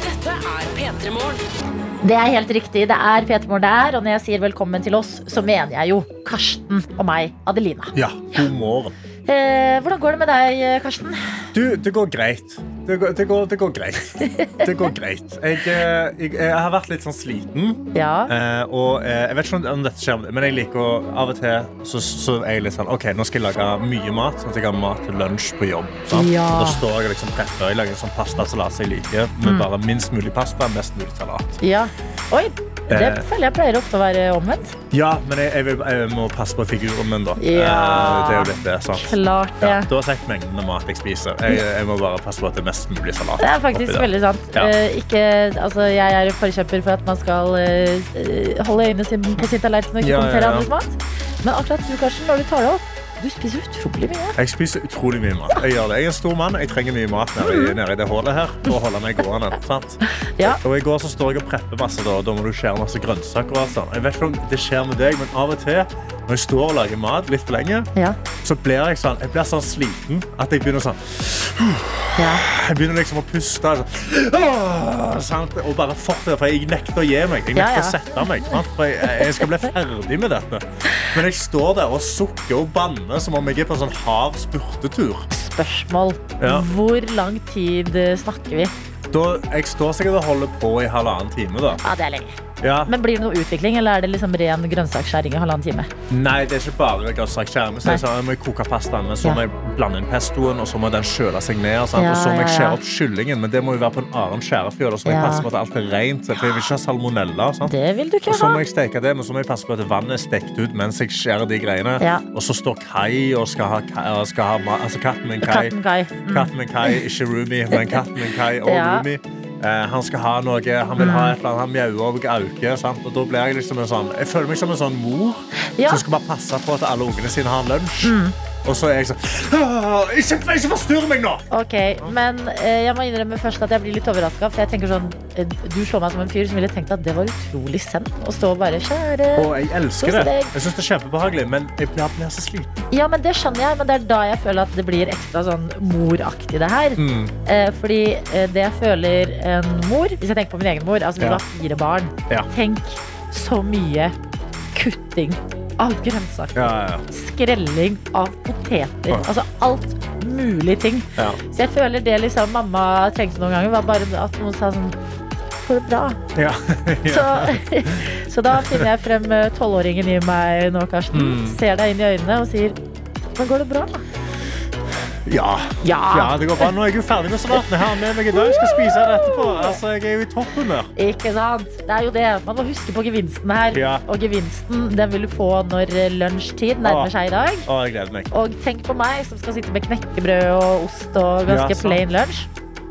Speaker 1: Dette er P3 Morgen.
Speaker 2: Det er helt riktig. Det er Peter Morn det er. Og når jeg sier velkommen til oss, så mener jeg jo Karsten og meg, Adelina.
Speaker 3: Ja, god morgen.
Speaker 2: Eh, hvordan går det med deg, Karsten?
Speaker 3: Du, det går greit. Det går, det, går, det går greit. Det går greit. Jeg, eh, jeg, jeg har vært litt sånn sliten.
Speaker 2: Ja.
Speaker 3: Eh, og eh, jeg vet ikke om- om dette skjer, men jeg liker å Av og til så, så er jeg litt sånn OK, nå skal jeg lage mye mat, sånn at jeg har mat til lunsj på jobb. Sant?
Speaker 2: Ja.
Speaker 3: Da står jeg liksom prepper. Jeg lager en sånn pastasalat som jeg liker, med
Speaker 2: Mm.
Speaker 3: bare minst mulig pasta, mest mulig salat.
Speaker 2: ja. Oi, det
Speaker 3: Eh.
Speaker 2: føler jeg pleier ofte å være omvendt.
Speaker 3: Ja, men jeg, jeg, vil, jeg må passe på figuren min, da.
Speaker 2: Ja.
Speaker 3: Eh, det er jo litt det, sant?
Speaker 2: Klart det.
Speaker 3: Ja, da har jeg sett mengden av mat jeg spiser. Jeg, jeg må bare passe på at det er mest mulig salat.
Speaker 2: Det er faktisk
Speaker 3: oppi det.
Speaker 2: veldig sant.
Speaker 3: Ja.
Speaker 2: Eh, ikke, altså, jeg er forkjemper for at man skal eh, eh, holde øynene sine på sin tallerken og ikke
Speaker 3: Ja, ja,
Speaker 2: kommentere
Speaker 3: ja.
Speaker 2: andres mat. Men akkurat du, Karsten, når du tar det opp, du spiser utrolig mye.
Speaker 3: Jeg spiser utrolig mye mat. Jeg gjør det. Jeg er en stor mann. Jeg trenger mye mat nede i, nede i det hullet her for å holde meg gående. sant?
Speaker 2: Mhm. Ja.
Speaker 3: Og I går så står jeg og prepper masse, da, og da må du skjære masse grønnsaker. og alt sånt. Jeg vet ikke om det skjer med deg, men av og til når jeg står og lager mat litt for lenge,
Speaker 2: Ja,
Speaker 3: så blir jeg sånn, jeg blir sånn sliten at jeg begynner sånn
Speaker 2: ja.
Speaker 3: Jeg begynner liksom å puste. altså. Åh, sant? Og bare fortsette, for jeg nekter å gi meg. Jeg nekter
Speaker 2: Ja, ja.
Speaker 3: å sette meg. sant? For jeg, jeg skal bli ferdig med dette. Men jeg står der og sukker og banner som om jeg er på en sånn hard spurtetur.
Speaker 2: Spørsmål.
Speaker 3: Ja.
Speaker 2: Hvor lang tid eh, snakker vi?
Speaker 3: Da, jeg står sikkert og holder på i halvannen time. da.
Speaker 2: Ja, det er lenge.
Speaker 3: Ja.
Speaker 2: Men blir det noe utvikling, eller er det liksom ren grønnsaksskjæring i halvannen time?
Speaker 3: Nei, det er ikke bare grønnsaksskjæring. Men så er det
Speaker 2: Nei.
Speaker 3: sånn, Jeg må koke pastaen, men så
Speaker 2: Ja.
Speaker 3: må jeg blande inn pestoen, og så må den kjøle seg ned. Sant?
Speaker 2: Ja,
Speaker 3: og så må jeg
Speaker 2: ja,
Speaker 3: skjære
Speaker 2: ja.
Speaker 3: opp kyllingen, men det må jo være på en annen skjærefjøl. Og så må jeg
Speaker 2: Ja.
Speaker 3: passe på at alt er rent, for jeg vil ikke ha salmonella. Sant?
Speaker 2: Det vil du ikke
Speaker 3: Og så
Speaker 2: ha.
Speaker 3: må jeg steke det, men så må jeg passe på at vannet er stekt ut mens jeg skjærer de greiene.
Speaker 2: Ja.
Speaker 3: Og så står Kai og skal ha, Kai, og skal ha ma- altså katten min Kai.
Speaker 2: Katten Kai. Mm.
Speaker 3: Katten min Kai, ikke Rumi, men katten min Kai og
Speaker 2: Ja. Mm.
Speaker 3: Rumi. Eh, han skal ha noe, han vil ha et eller annet, han mjauer og gauker. sant? Og da blir jeg liksom en sånn Jeg føler meg som en sånn mor
Speaker 2: Ja. Mm.
Speaker 3: som skal bare passe på at alle ungene sine har lunsj. Og så er jeg sånn «Åh, Ikke, ikke forstyrr meg nå!
Speaker 2: Ok, men eh, jeg må innrømme først at jeg blir litt overraska. For jeg tenker sånn, eh, du slår meg som en fyr som ville tenkt at det var utrolig send å stå og bare kjære
Speaker 3: Og jeg elsker
Speaker 2: Kos
Speaker 3: det.
Speaker 2: deg.
Speaker 3: Jeg synes det er kjempebehagelig, men jeg blir, jeg blir så sliten.
Speaker 2: Ja, men det skjønner jeg, men det er da jeg føler at det blir ekstra sånn moraktig, det her.
Speaker 3: Mm.
Speaker 2: Eh, fordi eh, det jeg føler en mor Hvis jeg tenker på min egen mor, altså hun
Speaker 3: Ja.
Speaker 2: har fire barn.
Speaker 3: Ja.
Speaker 2: Tenk så mye kutting av grønnsaker.
Speaker 3: Ja, ja,
Speaker 2: Skrelling av poteter.
Speaker 3: Ja.
Speaker 2: Altså alt mulig ting.
Speaker 3: ja.
Speaker 2: Så jeg føler det liksom mamma trengte noen ganger, var bare at noen sa sånn Går det bra?
Speaker 3: Ja.
Speaker 2: Så, så da finner jeg frem eh, tolvåringen i meg nå, Karsten.
Speaker 3: Mm.
Speaker 2: Ser deg inn i øynene og sier Men går det bra? da?»
Speaker 3: Ja. Ja, det går bra. Nå er jeg jo ferdig med salaten. Jeg har den med meg i dag. Jeg skal spise den etterpå. Altså, jeg er jo i topphumør.
Speaker 2: Ikke sant? Det er jo det. Man må huske på gevinsten her.
Speaker 3: Ja.
Speaker 2: Og gevinsten den vil du få når eh, lunsjtid nærmer
Speaker 3: Å.
Speaker 2: seg i dag.
Speaker 3: Å, jeg gleder meg.
Speaker 2: Og tenk på meg som skal sitte med knekkebrød og ost og ganske
Speaker 3: Ja, sant.
Speaker 2: plain lunsj.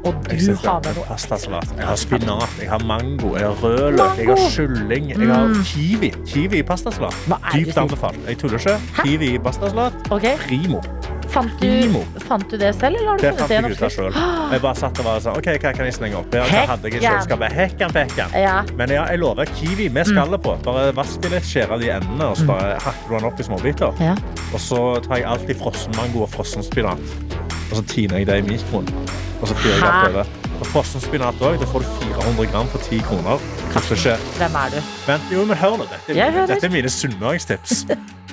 Speaker 2: Og
Speaker 3: Jeg
Speaker 2: du
Speaker 3: sitter
Speaker 2: har
Speaker 3: med
Speaker 2: med noe
Speaker 3: pastasalat. Jeg har spinat, jeg har mango, jeg har rødløk, jeg har kylling, jeg har kiwi. Kiwi i pastasalat.
Speaker 2: Mm. Hva er det du
Speaker 3: Dypt
Speaker 2: sier?
Speaker 3: anbefalt. Jeg tuller ikke. Kiwi i pastasalat.
Speaker 2: Ok,
Speaker 3: Primo.
Speaker 2: fant
Speaker 3: Primo.
Speaker 2: du, fant du det selv, eller har du
Speaker 3: Det
Speaker 2: funnet
Speaker 3: fant
Speaker 2: det i en
Speaker 3: jeg ut av
Speaker 2: oppskrift?
Speaker 3: sjøl. Jeg bare satt og var sånn OK, hva kan jeg slenge opp? Ja, hva hadde jeg i kjøleskapet? Hekkan pekkan.
Speaker 2: Ja.
Speaker 3: Men ja, jeg lover kiwi
Speaker 2: Mm.
Speaker 3: med skallet på. Bare vask det litt, skjær av de endene, og så bare hakker du den opp i småbiter.
Speaker 2: Ja.
Speaker 3: Og så tar jeg alltid frossen mango og frossen spinat. Og så tiner jeg det i mikroen. Og så fyrer jeg
Speaker 2: Hæ?
Speaker 3: det over. Og frossen spinat også, det får du 400 gram for 10 kroner. Koster ikke.
Speaker 2: Hvem er du?
Speaker 3: Vent, jo, men hør nå. Dette,
Speaker 2: Jeg
Speaker 3: er mine-
Speaker 2: hører.
Speaker 3: dette er mine sunnmøringstips.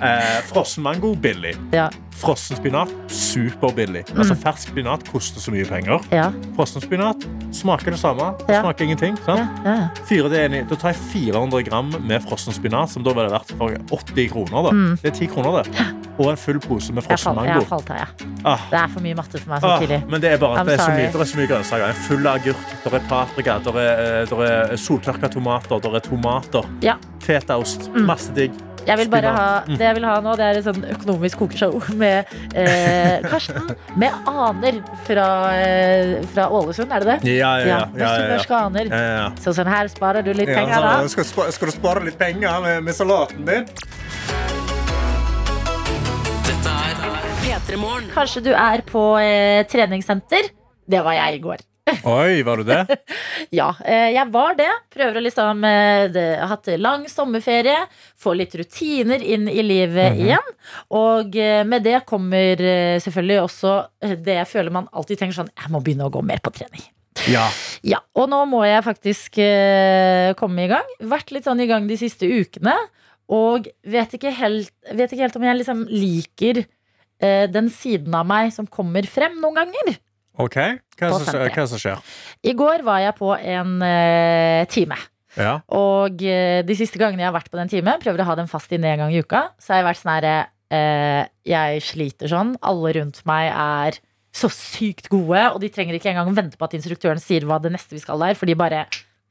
Speaker 3: Eh, frossen mango, billig.
Speaker 2: Ja.
Speaker 3: Frossen spinat, superbillig.
Speaker 2: Mm.
Speaker 3: Altså, fersk spinat koster så mye penger.
Speaker 2: Ja.
Speaker 3: Frossen spinat smaker det samme.
Speaker 2: Ja.
Speaker 3: Smaker ingenting. Sant?
Speaker 2: Ja. ja.
Speaker 3: Fire det er enig. i. Da tar jeg 400 gram med frossen spinat, som da ville vært for 80 kroner. Da. Det er 10 kroner, det. Og en full pose med
Speaker 2: Mm. Jeg
Speaker 3: frossen
Speaker 2: falt, jeg
Speaker 3: mango.
Speaker 2: falt av, jeg.
Speaker 3: Ah.
Speaker 2: Det er for mye matte for meg så
Speaker 3: Ah,
Speaker 2: tidlig.
Speaker 3: men det er bare
Speaker 2: I'm
Speaker 3: at det er så
Speaker 2: sorry.
Speaker 3: mye, det er så mye grønnsaker. En full agurk, der er paprika, der er, eh, der er soltørka tomater, der er tomater,
Speaker 2: Ja. Mm.
Speaker 3: fetaost, masse digg.
Speaker 2: Jeg vil bare ha,
Speaker 3: Spinat. Mm.
Speaker 2: det jeg vil ha nå, det er et sånn økonomisk kokeshow med eh, Karsten. Med aner fra, eh, fra Ålesund, er det det?
Speaker 3: Ja, ja, ja.
Speaker 2: med
Speaker 3: ja, ja,
Speaker 2: sunnmørske aner.
Speaker 3: ja, ja.
Speaker 2: Så sånn her sparer du litt
Speaker 3: Ja,
Speaker 2: penger,
Speaker 3: sånn,
Speaker 2: da.
Speaker 3: skal, du spa- skal du spare litt penger med, med salaten din?
Speaker 1: Dette er P3morgen.
Speaker 2: Kanskje du er på eh, treningssenter? Det var jeg i går.
Speaker 3: Oi, var du det?
Speaker 2: Ja, eh, jeg var det. Prøver å liksom eh, det, har hatt lang sommerferie. Få litt rutiner inn i livet
Speaker 3: Mhm.
Speaker 2: igjen. Og eh, med det kommer eh, selvfølgelig også eh, det jeg føler man alltid tenker sånn Jeg må begynne å gå mer på trening.
Speaker 3: Ja.
Speaker 2: Ja, Og nå må jeg faktisk eh, komme i gang. Vært litt sånn i gang de siste ukene. Og vet ikke helt, vet ikke helt om jeg liksom liker eh, den siden av meg som kommer frem noen ganger.
Speaker 3: OK, hva
Speaker 2: På
Speaker 3: som,
Speaker 2: senteret.
Speaker 3: hva som skjer?
Speaker 2: I går var jeg på en eh, time.
Speaker 3: Ja.
Speaker 2: Og eh, de siste gangene jeg har vært på den timen, prøver å ha den fast inne en gang i uka, så har jeg vært sånn herre eh, Jeg sliter sånn. Alle rundt meg er så sykt gode, og de trenger ikke engang vente på at instruktøren sier hva det neste vi skal der, for de bare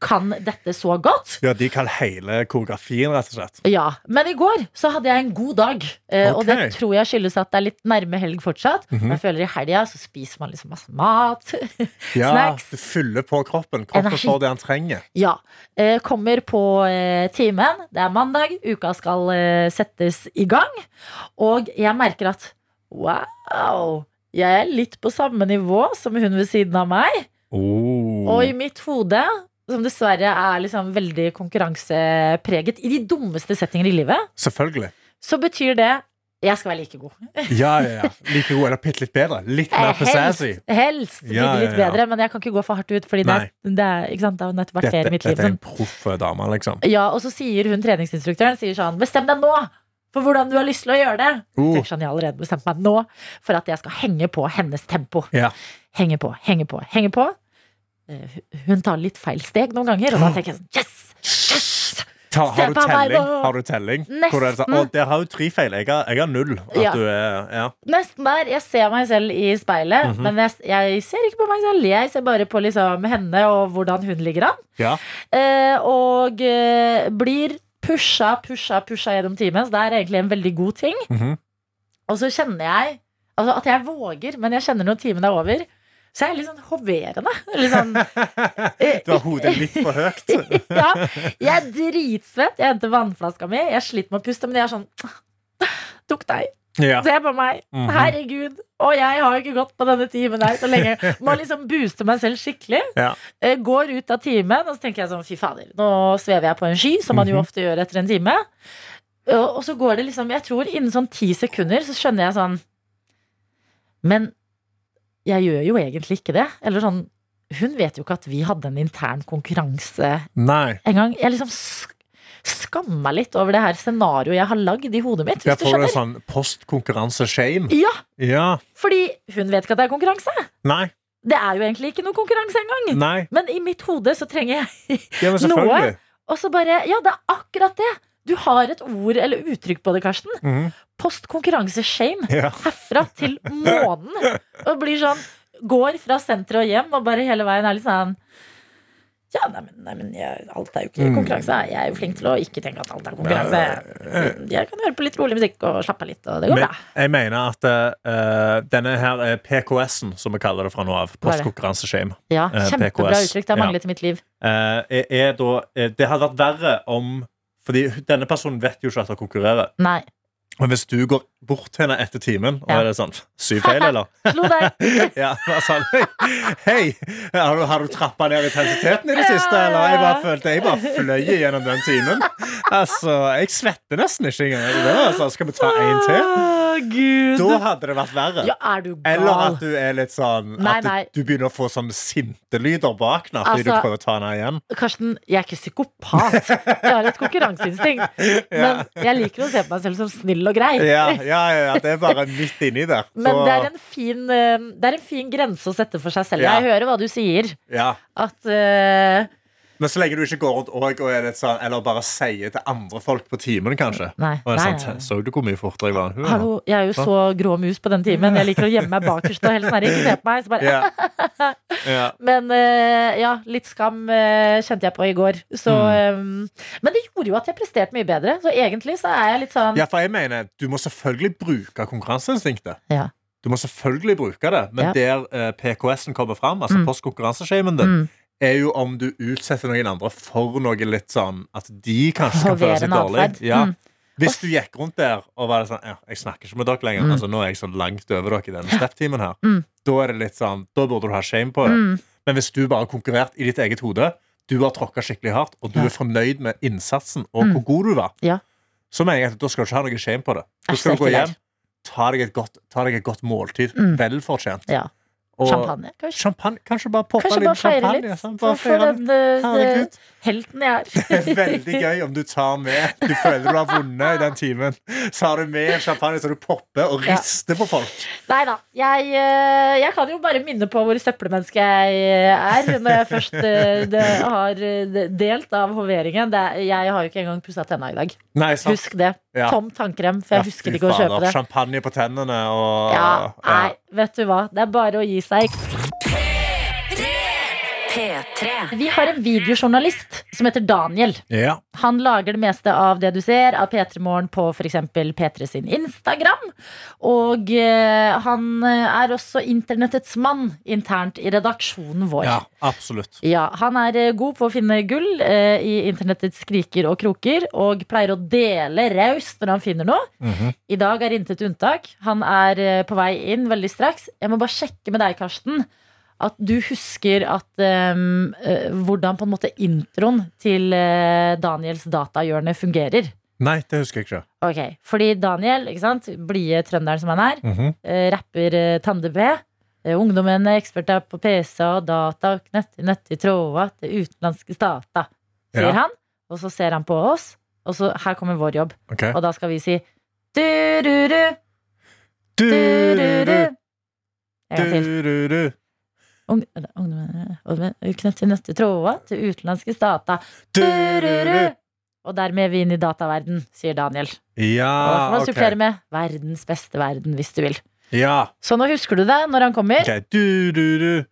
Speaker 2: kan dette så godt.
Speaker 3: ja, de kan hele koreografien, rett og slett.
Speaker 2: Ja, Men i går så hadde jeg en god dag. eh, Og
Speaker 3: Ok.
Speaker 2: det tror jeg skyldes at det er litt nærme helg fortsatt.
Speaker 3: Mhm.
Speaker 2: Jeg føler i helga så spiser man liksom masse mat.
Speaker 3: Ja,
Speaker 2: Snacks.
Speaker 3: Det fyller på kroppen. Kroppen
Speaker 2: Energi.
Speaker 3: får det han trenger.
Speaker 2: Ja. eh, Kommer på eh, timen. Det er mandag. Uka skal eh, settes i gang. Og jeg merker at wow, jeg er litt på samme nivå som hun ved siden av meg.
Speaker 3: Oh.
Speaker 2: Og i mitt hode, som dessverre er liksom veldig konkurransepreget i de dummeste settinger i livet,
Speaker 3: Selvfølgelig.
Speaker 2: så betyr det jeg skal være like god.
Speaker 3: Ja, ja, ja. Like god eller bitte litt bedre. Litt mer
Speaker 2: helst
Speaker 3: pissassi.
Speaker 2: helst ligge
Speaker 3: Ja, ja,
Speaker 2: litt
Speaker 3: ja.
Speaker 2: bedre, men jeg kan ikke gå for hardt ut, Fordi det er, det er, ikke sant? Det er jo nettopp vært
Speaker 3: Dette,
Speaker 2: det i mitt liv. sånn
Speaker 3: dette er
Speaker 2: som-
Speaker 3: en proff dame, liksom.
Speaker 2: Ja, og så sier hun treningsinstruktøren sier sånn, Bestem deg nå for hvordan du har lyst til å gjøre det.
Speaker 3: Oh.
Speaker 2: Tenker sånn, jeg har allerede bestemt meg nå for at jeg skal henge på hennes tempo.
Speaker 3: Ja.
Speaker 2: Henge på, henge på, henge på. Eh, hu- Hun tar litt feil steg noen ganger, og da tenker jeg sånn Yes!
Speaker 3: Ta,
Speaker 2: Se
Speaker 3: har, du
Speaker 2: på meg
Speaker 3: telling?
Speaker 2: nå!
Speaker 3: har du telling? Hvor det er sånn,
Speaker 2: Nesten.
Speaker 3: Å, der har du tre feil. Jeg har, jeg har null. At
Speaker 2: Ja.
Speaker 3: du er Ja.
Speaker 2: Nesten der. Jeg ser meg selv i speilet,
Speaker 3: Mhm.
Speaker 2: men jeg, jeg ser ikke på meg selv. Jeg ser bare på liksom henne og hvordan hun ligger an.
Speaker 3: ja.
Speaker 2: Eh, og eh, blir pusha, pusha, pusha gjennom timen. Så det er egentlig en veldig god ting.
Speaker 3: Mhm.
Speaker 2: Og så kjenner jeg altså at jeg våger, men jeg kjenner når timen er over. Så jeg er litt sånn hoverende. Litt sånn,
Speaker 3: Du har hodet litt for høyt.
Speaker 2: ja, jeg er dritsvett. Jeg henter vannflaska mi. Jeg sliter med å puste, men jeg er sånn Tok deg.
Speaker 3: Ja.
Speaker 2: Se på meg.
Speaker 3: Mhm.
Speaker 2: Herregud. Og jeg har jo ikke gått på denne timen her så lenge. Må liksom booste meg selv skikkelig.
Speaker 3: Ja.
Speaker 2: Eh, Går ut av timen, og så tenker jeg sånn fy fader, nå svever jeg på en sky, som man jo
Speaker 3: Mhm.
Speaker 2: ofte gjør etter en time. Og og så går det liksom, jeg tror innen sånn ti sekunder så skjønner jeg sånn Men jeg gjør jo egentlig ikke det. Eller sånn Hun vet jo ikke at vi hadde en intern konkurranse
Speaker 3: Nei.
Speaker 2: en gang. Jeg liksom sk skammer meg litt over det her scenarioet jeg har lagd i hodet mitt.
Speaker 3: Der
Speaker 2: Hvis du
Speaker 3: får du en
Speaker 2: skjønner.
Speaker 3: sånn postkonkurranse-shame.
Speaker 2: Ja,
Speaker 3: Ja.
Speaker 2: fordi hun vet ikke at det er konkurranse.
Speaker 3: Nei.
Speaker 2: Det er jo egentlig ikke noen konkurranse engang.
Speaker 3: Nei.
Speaker 2: Men i mitt hode så trenger jeg
Speaker 3: Ja, men selvfølgelig.
Speaker 2: Og så bare Ja, det er akkurat det! Du har et ord eller uttrykk på det, Karsten.
Speaker 3: Mhm.
Speaker 2: Post konkurranseshame
Speaker 3: Ja.
Speaker 2: herfra til månen. Og blir sånn Går fra senteret og hjem og bare hele veien er litt sånn ja, nei, men, nei, men jeg, alt er jo ikke
Speaker 3: Mm.
Speaker 2: konkurranse. Jeg er jo flink til å ikke tenke at alt er konkurranse. Mm,
Speaker 3: Nei.
Speaker 2: Jeg kan høre på litt rolig musikk og slappe av litt, og det går
Speaker 3: Men
Speaker 2: bra.
Speaker 3: jeg mener at eh, denne her er PKS-en, som vi kaller det fra nå av.
Speaker 2: Hva er det?
Speaker 3: Postkonkurranse-shame.
Speaker 2: Ja,
Speaker 3: eh,
Speaker 2: Kjempebra
Speaker 3: PKS.
Speaker 2: uttrykk. Det har
Speaker 3: Ja.
Speaker 2: manglet i mitt liv.
Speaker 3: Eh, er, er da, eh, det hadde vært verre om Fordi denne personen vet jo ikke at hun konkurrerer.
Speaker 2: Nei.
Speaker 3: Men hvis du går bort til henne etter timen, og
Speaker 2: Ja.
Speaker 3: er det sånn Syv feil, eller?
Speaker 2: Slo deg.
Speaker 3: ja, bare sånn, Hei, har du, har du trappa ned intensiteten i det
Speaker 2: Ja,
Speaker 3: siste?
Speaker 2: ja,
Speaker 3: Eller jeg
Speaker 2: ja.
Speaker 3: bare følte jeg bare fløy gjennom den timen. Altså, jeg svetter nesten ikke engang. Det var sånn, Skal vi ta en til?
Speaker 2: Å, Gud.
Speaker 3: Da hadde det vært verre.
Speaker 2: Ja, er du gal?
Speaker 3: Eller at du er litt sånn
Speaker 2: Nei,
Speaker 3: At du,
Speaker 2: nei.
Speaker 3: du begynner å få sånne sintelyder bak nå, fordi
Speaker 2: Altså-
Speaker 3: du prøver å ta henne igjen.
Speaker 2: Karsten, jeg er ikke psykopat. Jeg har et konkurranseinstinkt. Men jeg liker å se på meg selv som snill og grei.
Speaker 3: Ja, ja, ja, ja, det er bare midt inni der.
Speaker 2: Men
Speaker 3: Så-
Speaker 2: det er, en fin, eh, det er en fin grense å sette for seg selv.
Speaker 3: Ja.
Speaker 2: Jeg hører hva du sier.
Speaker 3: ja.
Speaker 2: At eh,
Speaker 3: Men så lenge du ikke går rundt og, og er litt sånn Eller bare sier til andre folk på timen, kanskje.
Speaker 2: Nei.
Speaker 3: Og er
Speaker 2: nei,
Speaker 3: sånn,
Speaker 2: nei, nei.
Speaker 3: Så du hvor mye fortere jeg var enn hun?
Speaker 2: Hallo, jeg er jo så grå mus på den timen. Jeg liker å gjemme meg bakerst og helt sånn her, ikke se på meg. Så bare,
Speaker 3: Ja. Ja.
Speaker 2: Men eh, ja, litt skam eh, kjente jeg på i går. Så,
Speaker 3: Mm.
Speaker 2: eh, men det gjorde jo at jeg presterte mye bedre. Så egentlig så er jeg litt sånn
Speaker 3: ja, for jeg mener, du må selvfølgelig bruke konkurranseinstinktet.
Speaker 2: Ja.
Speaker 3: Du må selvfølgelig bruke det, men
Speaker 2: Ja.
Speaker 3: der eh, PKS-en kommer fram, altså
Speaker 2: Mm.
Speaker 3: postkonkurranseshamen din,
Speaker 2: mm,
Speaker 3: er jo om du utsetter noen andre for noe litt sånn at de kanskje kan føle seg
Speaker 2: hoverende
Speaker 3: dårlig.
Speaker 2: atferd.
Speaker 3: Ja.
Speaker 2: Mm.
Speaker 3: Hvis du gikk rundt der og var sånn ja, 'Jeg snakker ikke med dere lenger.'
Speaker 2: Mm.
Speaker 3: Altså, 'Nå er jeg så langt over dere i denne step-timen her.'
Speaker 2: Mm.
Speaker 3: Da er det litt sånn, da burde du ha shame på det.
Speaker 2: Mm.
Speaker 3: Men hvis du bare har konkurrert i ditt eget hode, du har tråkka skikkelig hardt, og du
Speaker 2: Ja.
Speaker 3: er fornøyd med innsatsen og
Speaker 2: Mm.
Speaker 3: hvor god du var,
Speaker 2: Ja.
Speaker 3: så mener jeg at da skal du ikke ha noe shame på det. Da
Speaker 2: Æsj,
Speaker 3: skal du
Speaker 2: det er
Speaker 3: gå
Speaker 2: ikke
Speaker 3: hjem, ta deg et godt, ta deg et godt måltid,
Speaker 2: Mm.
Speaker 3: vel fortjent,
Speaker 2: Ja.
Speaker 3: Og
Speaker 2: Champagne, kanskje.
Speaker 3: champagne. Kanskje bare poppe
Speaker 2: Kanskje bare
Speaker 3: litt
Speaker 2: feire
Speaker 3: champagne.
Speaker 2: litt.
Speaker 3: sant?
Speaker 2: For,
Speaker 3: Bare feire litt.
Speaker 2: den eh,
Speaker 3: Herregud.
Speaker 2: helten jeg
Speaker 3: Det
Speaker 2: er.
Speaker 3: er veldig gøy om du tar med Du føler du har vunnet i den timen. Så har du med en champagne så du popper og
Speaker 2: Ja.
Speaker 3: rister på folk.
Speaker 2: Nei da. Jeg, eh, jeg kan jo bare minne på hvor søppelmenneske jeg eh, er, når jeg først eh, det har eh, delt av hoveringen. Det, er- jeg har jo ikke engang pussa tenna i dag.
Speaker 3: Nei, sant?
Speaker 2: Husk det.
Speaker 3: Ja.
Speaker 2: Tom tannkrem, for jeg
Speaker 3: Ja,
Speaker 2: husker
Speaker 3: fy
Speaker 2: ikke å
Speaker 3: fader.
Speaker 2: kjøpe det.
Speaker 3: Champagne på tennene og
Speaker 2: Ja, nei, vet du hva. Det er bare å gi seg.
Speaker 1: P3.
Speaker 2: Vi har en videojournalist som heter Daniel.
Speaker 3: Ja.
Speaker 2: Han lager det meste av det du ser av P3 Morgen på f.eks. P3 sin Instagram. Og eh, han er også internettets mann internt i redaksjonen vår.
Speaker 3: ja, absolutt.
Speaker 2: Ja, Han er eh, god på å finne gull eh, i internettets skriker og kroker, og pleier å dele raust når han finner noe.
Speaker 3: Mhm.
Speaker 2: I dag er intet unntak. Han er eh, på vei inn veldig straks. Jeg må bare sjekke med deg, Karsten, at du husker at ehm, eh, hvordan på en måte introen til eh, Daniels datahjørne fungerer.
Speaker 3: Nei, det husker jeg ikke.
Speaker 2: Ok, Fordi Daniel, ikke sant, blide trønderen som han er,
Speaker 3: Mhm.
Speaker 2: eh, rapper eh, Tande-B. Eh, Ungdommen er eksperter på PC og data, knøtt i nøtt i tråda til utenlandske stater, sier
Speaker 3: Ja.
Speaker 2: han. Og så ser han på oss, og så her kommer vår jobb.
Speaker 3: Ok.
Speaker 2: Og da skal vi si du-du-du.
Speaker 3: Du, du, du,
Speaker 2: En gang til.
Speaker 3: du, du, du.
Speaker 2: Ung- ungdommen- ungdommen- Knøtt til nøttetråda til utenlandske stater.
Speaker 3: Du, du, du.
Speaker 2: Du-du-du. Og dermed er vi inn i dataverden, sier Daniel. Og da kan
Speaker 3: Ja,
Speaker 2: man supplere
Speaker 3: Ah, ok.
Speaker 2: med 'verdens beste verden', hvis du vil.
Speaker 3: Ja.
Speaker 2: Så nå husker du det når han kommer.
Speaker 3: ok. Du, du, du.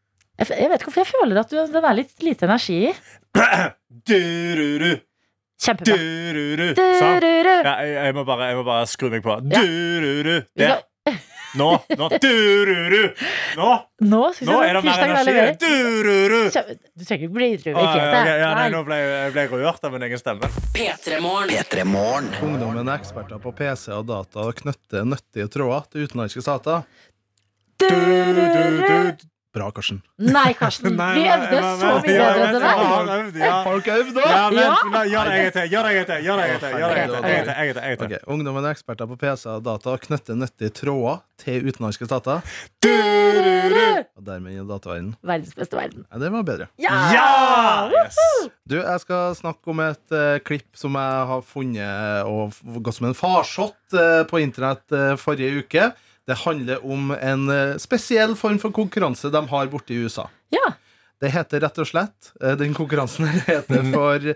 Speaker 2: Jeg, f- jeg vet ikke hvorfor jeg føler at du, den er litt lite energi i.
Speaker 3: Du, du, du. Du,
Speaker 2: Kjempebra.
Speaker 3: du, Sånn. du. Sant?
Speaker 2: Du-du-du.
Speaker 3: Ja, jeg, jeg, må bare, jeg må bare skru meg på.
Speaker 2: Ja.
Speaker 3: Du, du, du.
Speaker 2: Vi
Speaker 3: Der.
Speaker 2: skal-
Speaker 3: Nå. nå. Du, du, du. Nå,
Speaker 2: Nå skal vi
Speaker 3: nå
Speaker 2: se
Speaker 3: er det
Speaker 2: om
Speaker 3: mer
Speaker 2: tirsdagen er
Speaker 3: energi.
Speaker 2: levert.
Speaker 3: Du, du, du.
Speaker 2: Kjempe- Du trenger ikke bli rød i
Speaker 3: Ah, ja, ok,
Speaker 2: fjeset.
Speaker 3: ja, nei,
Speaker 2: Nei.
Speaker 3: nå ble jeg, jeg ble rørt av min egen stemme.
Speaker 1: P3morgen.
Speaker 4: Ungdommen er eksperter på PC og data og knøtter nøttige tråder til utenlandske stater.
Speaker 3: Du, du, du, du.
Speaker 4: Bra, Karsten.
Speaker 2: Nei, Karsten.
Speaker 3: Nei,
Speaker 2: Vi
Speaker 3: nei,
Speaker 2: øvde
Speaker 3: nei,
Speaker 2: så
Speaker 3: nei,
Speaker 2: mye
Speaker 3: ja,
Speaker 2: bedre enn det
Speaker 3: jeg vet det,
Speaker 2: der.
Speaker 3: ja, jeg vet det, ja.
Speaker 4: Har dere øvd, da?
Speaker 3: Ja, vent,
Speaker 2: Ja.
Speaker 3: la- Gjør det en gang til. Gjør det en gang til. Gjør det en gang til. Gjør det en gang til, en gang til, en gang til, en gang
Speaker 4: Ok,
Speaker 3: til.
Speaker 4: Ungdommen er eksperter på PC og data og knøtter nøttige tråder til utenlandske stater.
Speaker 3: Du, du, du.
Speaker 4: Og dermed inn i dataverdenen.
Speaker 2: Verdens beste verden.
Speaker 4: Ja, det var bedre.
Speaker 2: Ah,
Speaker 3: Ja! Yes.
Speaker 4: Du, jeg skal snakke om et eh, klipp som jeg har funnet og f- gått som en farsott eh, på internett eh, forrige uke. Det handler om en eh, spesiell form for konkurranse de har borte i USA.
Speaker 2: Ja.
Speaker 4: Det heter rett og slett eh, Den konkurransen her heter for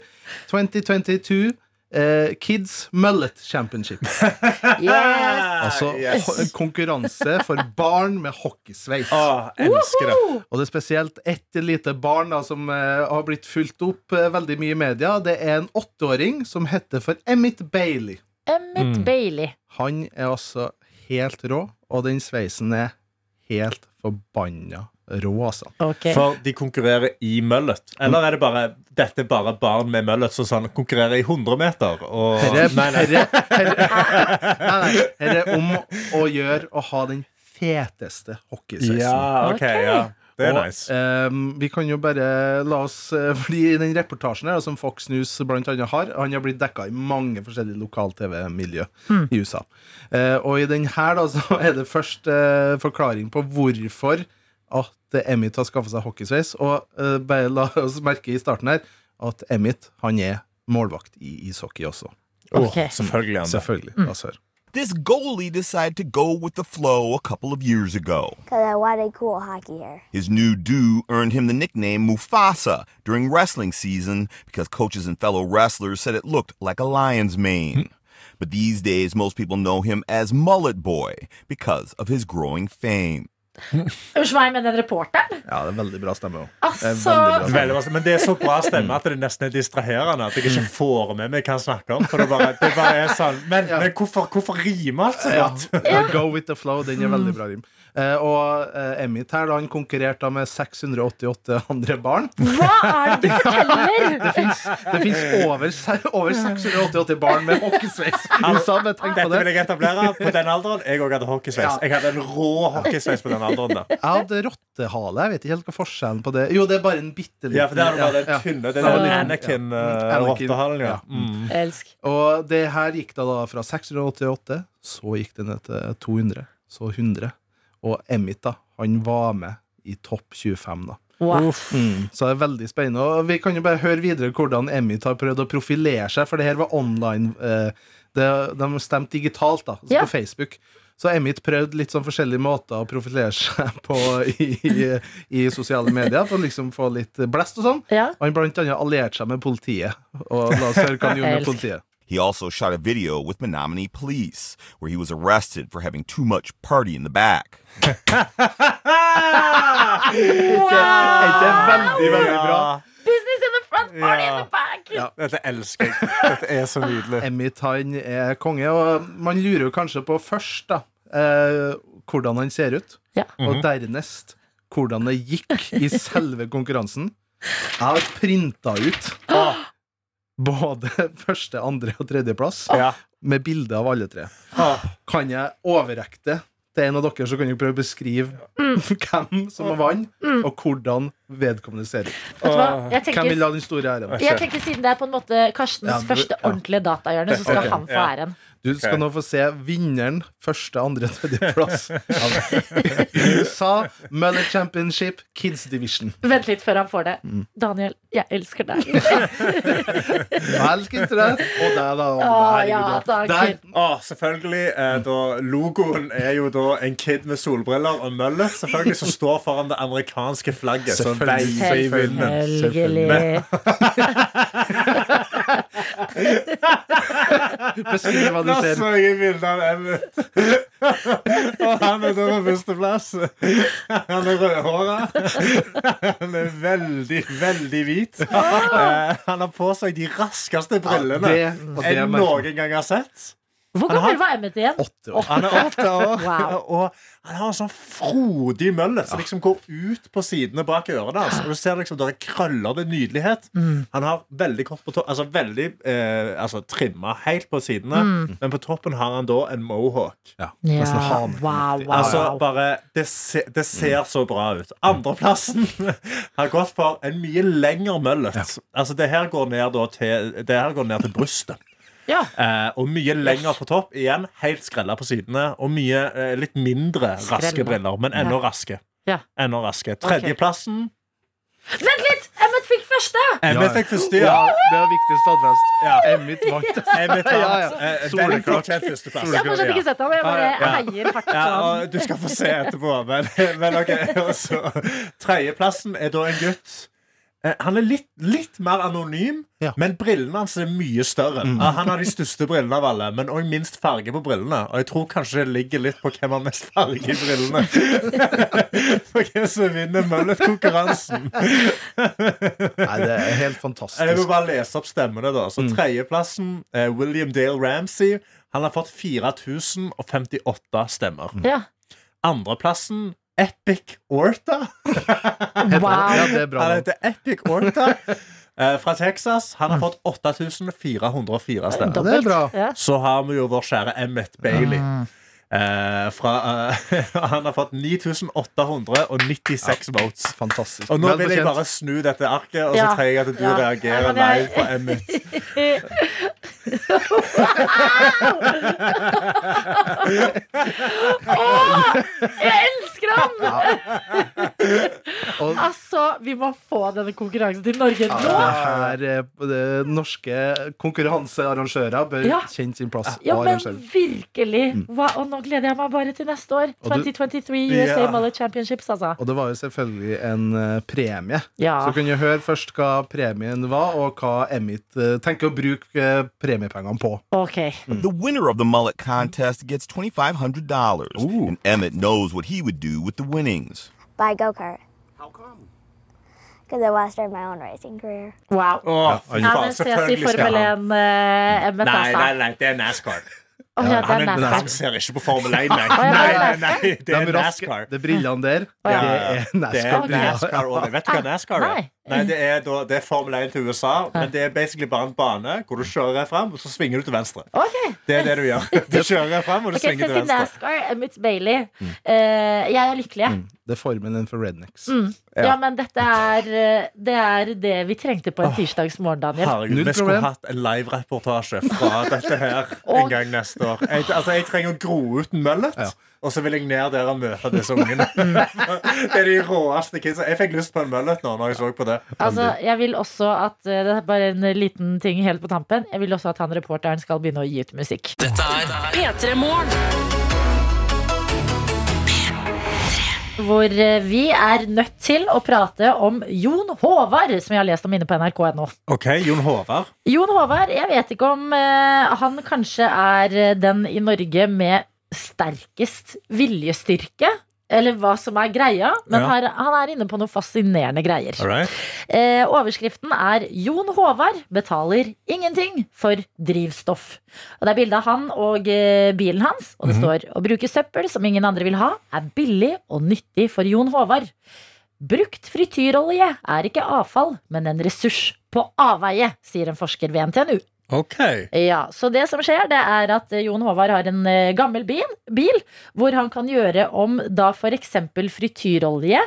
Speaker 4: 2022 eh, Kids Mullet Championship.
Speaker 2: Yes.
Speaker 4: Altså
Speaker 3: Ah, Yes.
Speaker 4: ho- konkurranse for barn med hockeysveis.
Speaker 3: Å, elsker det.
Speaker 4: Og det er spesielt ett lite barn da, som eh, har blitt fulgt opp eh, veldig mye i media. Det er en åtteåring som heter for Emmett Bailey.
Speaker 2: Emmett
Speaker 3: Mm.
Speaker 2: Bailey.
Speaker 4: Han er altså helt rå, og den sveisen er helt forbanna rå, altså.
Speaker 2: Ok.
Speaker 3: For de konkurrerer i møllet. Eller er det bare dette er bare barn med møllet som sånn, konkurrerer i 100 meter? Og,
Speaker 4: Herre,
Speaker 3: nei, nei.
Speaker 4: herre, herre, nei, nei, herre om å gjøre å ha den feteste hockeysveisen.
Speaker 3: Ja, ok,
Speaker 2: Ok.
Speaker 3: ja. Det er
Speaker 4: Og,
Speaker 3: nice.
Speaker 4: ehm, vi kan jo bare la oss eh, Fordi den reportasjen her, som Fox News blant annet har, han har blitt dekka i mange forskjellige lokal-TV-miljø i USA. Eh, og i den her da, så er det først eh, forklaring på hvorfor at Emmett har skaffa seg hockeysveis. Og eh, bare la oss merke i starten her at Emmett han er målvakt i ishockey også.
Speaker 3: Åh,
Speaker 2: ok.
Speaker 3: selvfølgelig er han det.
Speaker 4: Selvfølgelig. La oss høre.
Speaker 5: This goalie decided to go with the flow a couple of years ago.
Speaker 6: Cause I wanted cool hockey hair.
Speaker 5: His new do earned him the nickname Mufasa during wrestling season because coaches and fellow wrestlers said it looked like a lion's mane. But these days, most people know him as Mullet Boy because of his growing fame.
Speaker 2: Unnskyld meg, men den reporteren?
Speaker 4: Ja, det er veldig bra stemme òg.
Speaker 2: Altså
Speaker 3: Veldig bra. Men det er så bra stemme at det nesten er distraherende. At jeg
Speaker 4: Mm.
Speaker 3: ikke får med meg hva han snakker om. For det bare, det bare er sånn Men, men hvorfor, hvorfor rimer alt så godt?
Speaker 4: Og Go with the flow, den er
Speaker 3: Mm.
Speaker 4: veldig bra rim. Eh, og eh, Emmett her, da, han konkurrerte da med 688 andre barn.
Speaker 2: Hva er det du forteller?
Speaker 4: Det fins over, se- over 688 barn med hockeysveis i USA, bare tenk på
Speaker 3: Dette vil
Speaker 4: det.
Speaker 3: jeg etablere på den alderen. Jeg òg hadde hockeysveis.
Speaker 4: Ja.
Speaker 3: Jeg hadde en rå hockeysveis på den alderen. da
Speaker 4: Jeg hadde rottehale, jeg vet ikke helt hva forskjellen på det Jo, det er bare en bitte liten
Speaker 3: Ja, for det er bare den tynne. Det er den
Speaker 4: Ja. Anakin.
Speaker 3: Anakin-rottehalen, ja.
Speaker 4: Ja.
Speaker 3: Mm.
Speaker 2: Elsk.
Speaker 4: Og det her gikk da, da fra 688, så gikk det ned til 200, så 100. Og Emmett, da, han var med i topp 25, da.
Speaker 2: Wow.
Speaker 4: Så det er veldig spennende. Og vi kan jo bare høre videre hvordan Emmett har prøvd å profilere seg, for det her var online. Eh, det, de stemte digitalt, da, altså
Speaker 2: Ja.
Speaker 4: på Facebook. Så Emmett prøvde litt sånn forskjellige måter å profilere seg på i, i, i sosiale medier, for å liksom få litt blest og sånn.
Speaker 2: Ja.
Speaker 4: Og han blant annet allierte seg med politiet. Og la oss høre hva han gjorde med politiet.
Speaker 5: He also shot a video with Menominee Police, where he was arrested for having too much party in the back.
Speaker 3: Mm.
Speaker 4: Er ikke det veldig, veldig bra?
Speaker 2: Business in the front, party in the back!
Speaker 3: Dette elsker jeg. Dette er så nydelig.
Speaker 4: Emmett han er konge, og man lurer jo kanskje på først da eh, hvordan han ser ut,
Speaker 2: Ja.
Speaker 4: og dernest hvordan det gikk i selve konkurransen. Jeg har printa ut både første, andre og tredjeplass
Speaker 3: Ja.
Speaker 4: med bilde av alle tre. Kan jeg overrekke det til en av dere, så kan dere prøve å beskrive
Speaker 2: Mm.
Speaker 4: hvem som vant, og hvordan vedkommende ser ut.
Speaker 2: Vet du hva? Jeg
Speaker 4: Hvem vil
Speaker 2: Mm. tenker,
Speaker 4: ha den store æren?
Speaker 2: jeg tenker Siden det er på en måte Karstens
Speaker 4: Ja, du-
Speaker 2: første
Speaker 4: ja.
Speaker 2: ordentlige datahjørne, så skal
Speaker 4: Ok,
Speaker 2: han få
Speaker 3: ja.
Speaker 2: æren.
Speaker 4: Du skal
Speaker 3: Ok.
Speaker 4: nå få se vinneren første, andre, tredjeplass. av USA Mullet Championship Kids Division.
Speaker 2: Vent litt før han får det.
Speaker 4: Mm.
Speaker 2: Daniel, jeg elsker deg.
Speaker 4: Velkommen til deg. Og deg, da.
Speaker 2: Å, ja, takk.
Speaker 4: Der.
Speaker 3: Å, selvfølgelig. Eh, da, logoen er jo da en kid med solbriller og mølle. Selvfølgelig som står foran det amerikanske flagget. Som
Speaker 4: Selvfølgelig.
Speaker 3: veier i vinden.
Speaker 2: Selvfølgelig.
Speaker 4: Beskriv hva du
Speaker 3: Da
Speaker 4: ser.
Speaker 3: så jeg bilde av Emmett. Og han er da på førsteplass. Han er rødhåra. Han er veldig, veldig hvit. Eh, Han har på seg de raskeste brillene
Speaker 4: Ah. Ja, det- og det
Speaker 3: jeg
Speaker 4: merker-
Speaker 3: noen gang har sett.
Speaker 2: Hvor gammel var Emmet igjen?
Speaker 4: Åtte år.
Speaker 3: Han er åtte år,
Speaker 2: Wow.
Speaker 3: og han har en sånn frodig mølle som liksom går ut på sidene bak ørene hans. Og du ser liksom, der er krøller det er nydelighet.
Speaker 2: Mm.
Speaker 3: Han har veldig kort på toppen, altså veldig eh, altså, trimma helt på sidene,
Speaker 2: Mm.
Speaker 3: men på toppen har han da en mohawk.
Speaker 4: Ja,
Speaker 2: Ja,
Speaker 4: nesten
Speaker 2: wow,
Speaker 4: han.
Speaker 2: wow.
Speaker 3: Altså bare, det, se, det ser så bra ut. Andreplassen har gått for en mye lengre møllet. Altså det her går ned, da til, det her går ned til brystet.
Speaker 2: ja.
Speaker 3: Eh, og mye lenger på topp. Igjen helt skrella på sidene. Og mye eh, litt mindre raske
Speaker 2: Skrella.
Speaker 3: briller, men ennå raske.
Speaker 2: Ja.
Speaker 3: Enda raske. Tredjeplassen
Speaker 2: Vent litt! Emmet fikk første!
Speaker 3: Emmet fikk første,
Speaker 4: Ja,
Speaker 3: ja.
Speaker 4: det er viktig stadfest.
Speaker 3: Ja.
Speaker 4: Emmett vant.
Speaker 3: Emmet
Speaker 4: Ja, ja.
Speaker 3: vant. eh, veldig fortjent førsteplass.
Speaker 2: Jeg har fortsatt ikke sett ham. Jeg bare heier hardt på
Speaker 3: Ja,
Speaker 2: ham.
Speaker 3: og du skal få se etterpå. Men, men ok, og så Tredjeplassen er da en gutt. eh, Han er litt, litt mer anonym,
Speaker 4: Ja.
Speaker 3: men brillene hans er mye større. Ah, Han har de største brillene av alle, men òg minst farge på brillene. Og jeg tror kanskje det ligger litt på hvem har mest farge i brillene. For hvem som vinner Mullet-konkurransen.
Speaker 4: Nei, det er
Speaker 3: Jeg
Speaker 4: helt
Speaker 3: vil
Speaker 4: fantastisk.
Speaker 3: bare lese opp stemmene, da. Så tredjeplassen, eh, William Dale Ramsey. Han har fått 4058 stemmer.
Speaker 2: Ja.
Speaker 3: Andreplassen Epic Orta.
Speaker 4: Ja,
Speaker 2: Wow.
Speaker 4: det er bra.
Speaker 3: Han
Speaker 4: navn.
Speaker 3: heter Epic Orta eh, fra Texas. Han har fått 8404
Speaker 4: Ja,
Speaker 3: stemmer.
Speaker 4: det er bra.
Speaker 2: Ja.
Speaker 3: Så har vi jo vår kjære Emmett Bailey.
Speaker 2: Ah.
Speaker 3: Eh, fra, eh, han har fått 9896 votes.
Speaker 4: Fantastisk.
Speaker 3: Og nå
Speaker 4: Vel
Speaker 3: vil jeg
Speaker 4: fortjent.
Speaker 3: bare snu dette arket, og så
Speaker 2: Ja.
Speaker 3: trenger jeg at du
Speaker 2: Ja.
Speaker 3: reagerer
Speaker 2: Ja, men jeg-
Speaker 3: live på Emmett.
Speaker 2: Jeg elsker ham!
Speaker 4: Og
Speaker 2: Altså, vi må få denne konkurransen til Norge nå!
Speaker 4: det her eh, det norske konkurransearrangører bør
Speaker 2: Ja.
Speaker 4: kjenne sin plass.
Speaker 2: Ja,
Speaker 4: og
Speaker 2: men
Speaker 4: arrangører.
Speaker 2: virkelig! Hva, og nå gleder jeg meg bare til neste år.
Speaker 4: Og du-
Speaker 2: 2023 USA
Speaker 3: Ja.
Speaker 2: Mullet Championships, altså.
Speaker 4: Og det var jo selvfølgelig en eh, premie.
Speaker 2: Ja.
Speaker 4: Så kunne jeg høre først hva premien var, og hva Emmett eh, tenker å bruke eh, premiepengene på.
Speaker 2: Ok.
Speaker 5: The winner of the mullet contest gets $2,500, and Emmett knows what he would do with the winnings.
Speaker 6: By go kart. How come? Because I want to start my own racing career.
Speaker 2: Wow.
Speaker 3: Åh, fy
Speaker 2: Ja,
Speaker 3: faen,
Speaker 2: men ses i Formel 1, eh, Emmet,
Speaker 3: Nei, nei,
Speaker 2: altså.
Speaker 3: nei, det er NASCAR.
Speaker 2: Å ja, det
Speaker 3: Han
Speaker 2: er
Speaker 3: er NASCAR.
Speaker 2: nasty.
Speaker 3: ser ikke på Formel 1, nei.
Speaker 2: ja,
Speaker 3: nei,
Speaker 2: det er
Speaker 3: nei, nei det
Speaker 4: De
Speaker 3: er
Speaker 4: raske-
Speaker 3: NASCAR.
Speaker 4: De brillene der,
Speaker 2: Ja.
Speaker 4: det er
Speaker 3: Ah, Det er
Speaker 4: NASCAR-briller.
Speaker 3: NASCAR og det. Vet du hva NASCAR er?
Speaker 2: Ah, Nei. Ah.
Speaker 3: Nei, det er, da, det er Formel 1 til USA, men det er basically bare en bane hvor du kjører frem, og så svinger du til venstre.
Speaker 2: Ok,
Speaker 3: Det er det du gjør. Du kjører frem, og du
Speaker 2: ok, ses
Speaker 3: svinger
Speaker 2: i
Speaker 3: til venstre.
Speaker 2: NASCAR, Emmett Bailey.
Speaker 3: Mm.
Speaker 2: Eh, jeg er lykkelig, jeg.
Speaker 4: Det er formelen for rednecks.
Speaker 3: Mm.
Speaker 2: Ja, men dette er eh, Det er det vi trengte på en tirsdagsmorgen, Daniel.
Speaker 3: Herregud,
Speaker 4: Null
Speaker 3: vi skulle
Speaker 4: problem.
Speaker 3: hatt en live-reportasje fra dette her
Speaker 2: Og-
Speaker 3: en gang neste år. Jeg, altså, jeg trenger å gro ut møllet. Og så vil jeg ned der og møte disse ungene. det er de råeste kidsa. Jeg fikk lyst på en møllet nå når jeg så på det.
Speaker 2: Altså, jeg vil også at eh, Det er bare en liten ting helt på tampen. Jeg vil også at han reporteren skal begynne å gi ut musikk.
Speaker 1: P3 Morgen.
Speaker 2: Hvor eh, vi er nødt til å prate om Jon Håvard, som jeg har lest om inne på nrk.no.
Speaker 3: OK, Jon Håvard.
Speaker 2: Jon Håvard, jeg vet ikke om eh, han kanskje er eh, den i Norge med sterkest viljestyrke. Eller hva som er greia, men
Speaker 3: Ja.
Speaker 2: her, han er inne på noen fascinerende greier.
Speaker 3: All right.
Speaker 2: Eh, overskriften er 'Jon Håvard betaler ingenting for drivstoff'. Og Det er bilde av han og eh, bilen hans, og det står 'Å bruke søppel som ingen andre vil ha, er billig og nyttig for Jon Håvard'. Brukt frityrolje er ikke avfall, men en ressurs på avveie, sier en forsker ved NTNU.
Speaker 3: OK.
Speaker 2: Ja, Så det som skjer, det er at eh, Jon Håvard har en eh, gammel bil, bil hvor han kan gjøre om da f.eks. frityrolje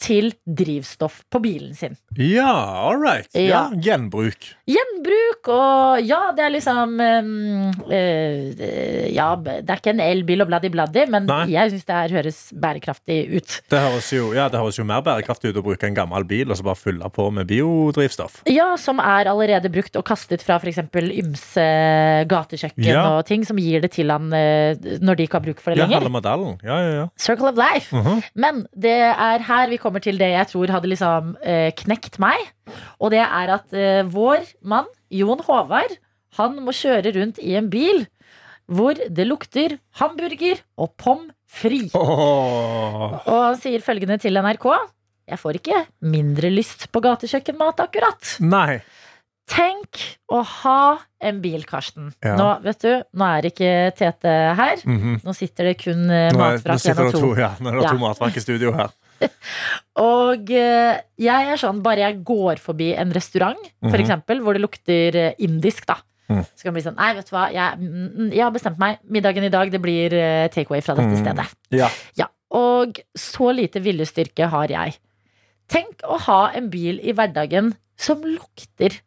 Speaker 2: til drivstoff på bilen sin.
Speaker 3: Ja, all right. Ja,
Speaker 2: Ja.
Speaker 3: gjenbruk.
Speaker 2: Gjenbruk og ja, det er liksom eh, eh, Ja, det er ikke en elbil og bladdi-bladdi, men
Speaker 3: Nei.
Speaker 2: jeg syns det her høres bærekraftig ut.
Speaker 3: Det høres, jo, ja, det høres jo mer bærekraftig ut å bruke en gammel bil og så bare fylle på med biodrivstoff.
Speaker 2: Ja, som er allerede brukt og kastet fra f.eks. ymse eh, gatekjøkken
Speaker 3: Ja.
Speaker 2: og ting, som gir det til han eh, når de ikke har bruk for det
Speaker 3: Ja,
Speaker 2: lenger.
Speaker 3: halve medaljen. Ja, ja, ja.
Speaker 2: Circle of life.
Speaker 3: Mhm.
Speaker 2: Men det er her vi kommer til det jeg tror hadde liksom eh, knekt meg. Og det er at eh, vår mann, Jon Håvard, han må kjøre rundt i en bil hvor det lukter hamburger og pommes frites.
Speaker 3: Åh.
Speaker 2: Og han sier følgende til NRK. Jeg får ikke mindre lyst på gatekjøkkenmat, akkurat.
Speaker 3: Nei.
Speaker 2: Tenk å ha en bil, Karsten.
Speaker 3: Ja.
Speaker 2: Nå, vet du, nå er ikke Tete her.
Speaker 3: Mhm.
Speaker 2: Nå sitter det kun eh,
Speaker 3: Nå, er- nå
Speaker 2: matvrak én
Speaker 3: sitter
Speaker 2: og
Speaker 3: det
Speaker 2: to.
Speaker 3: to, ja, nå er det to
Speaker 2: Ja.
Speaker 3: matverk i studio her.
Speaker 2: Og eh, jeg er sånn, bare jeg går forbi en restaurant, for
Speaker 3: Mhm.
Speaker 2: eksempel, hvor det lukter eh, indisk, da.
Speaker 3: Mm.
Speaker 2: Så kan det bli sånn, nei, vet du hva, jeg, mm, mm, jeg har bestemt meg. Middagen i dag, det blir eh, takeaway fra dette
Speaker 3: Mm.
Speaker 2: stedet.
Speaker 3: Ja.
Speaker 2: Ja, og så lite viljestyrke har jeg. Tenk å ha en bil i hverdagen som lukter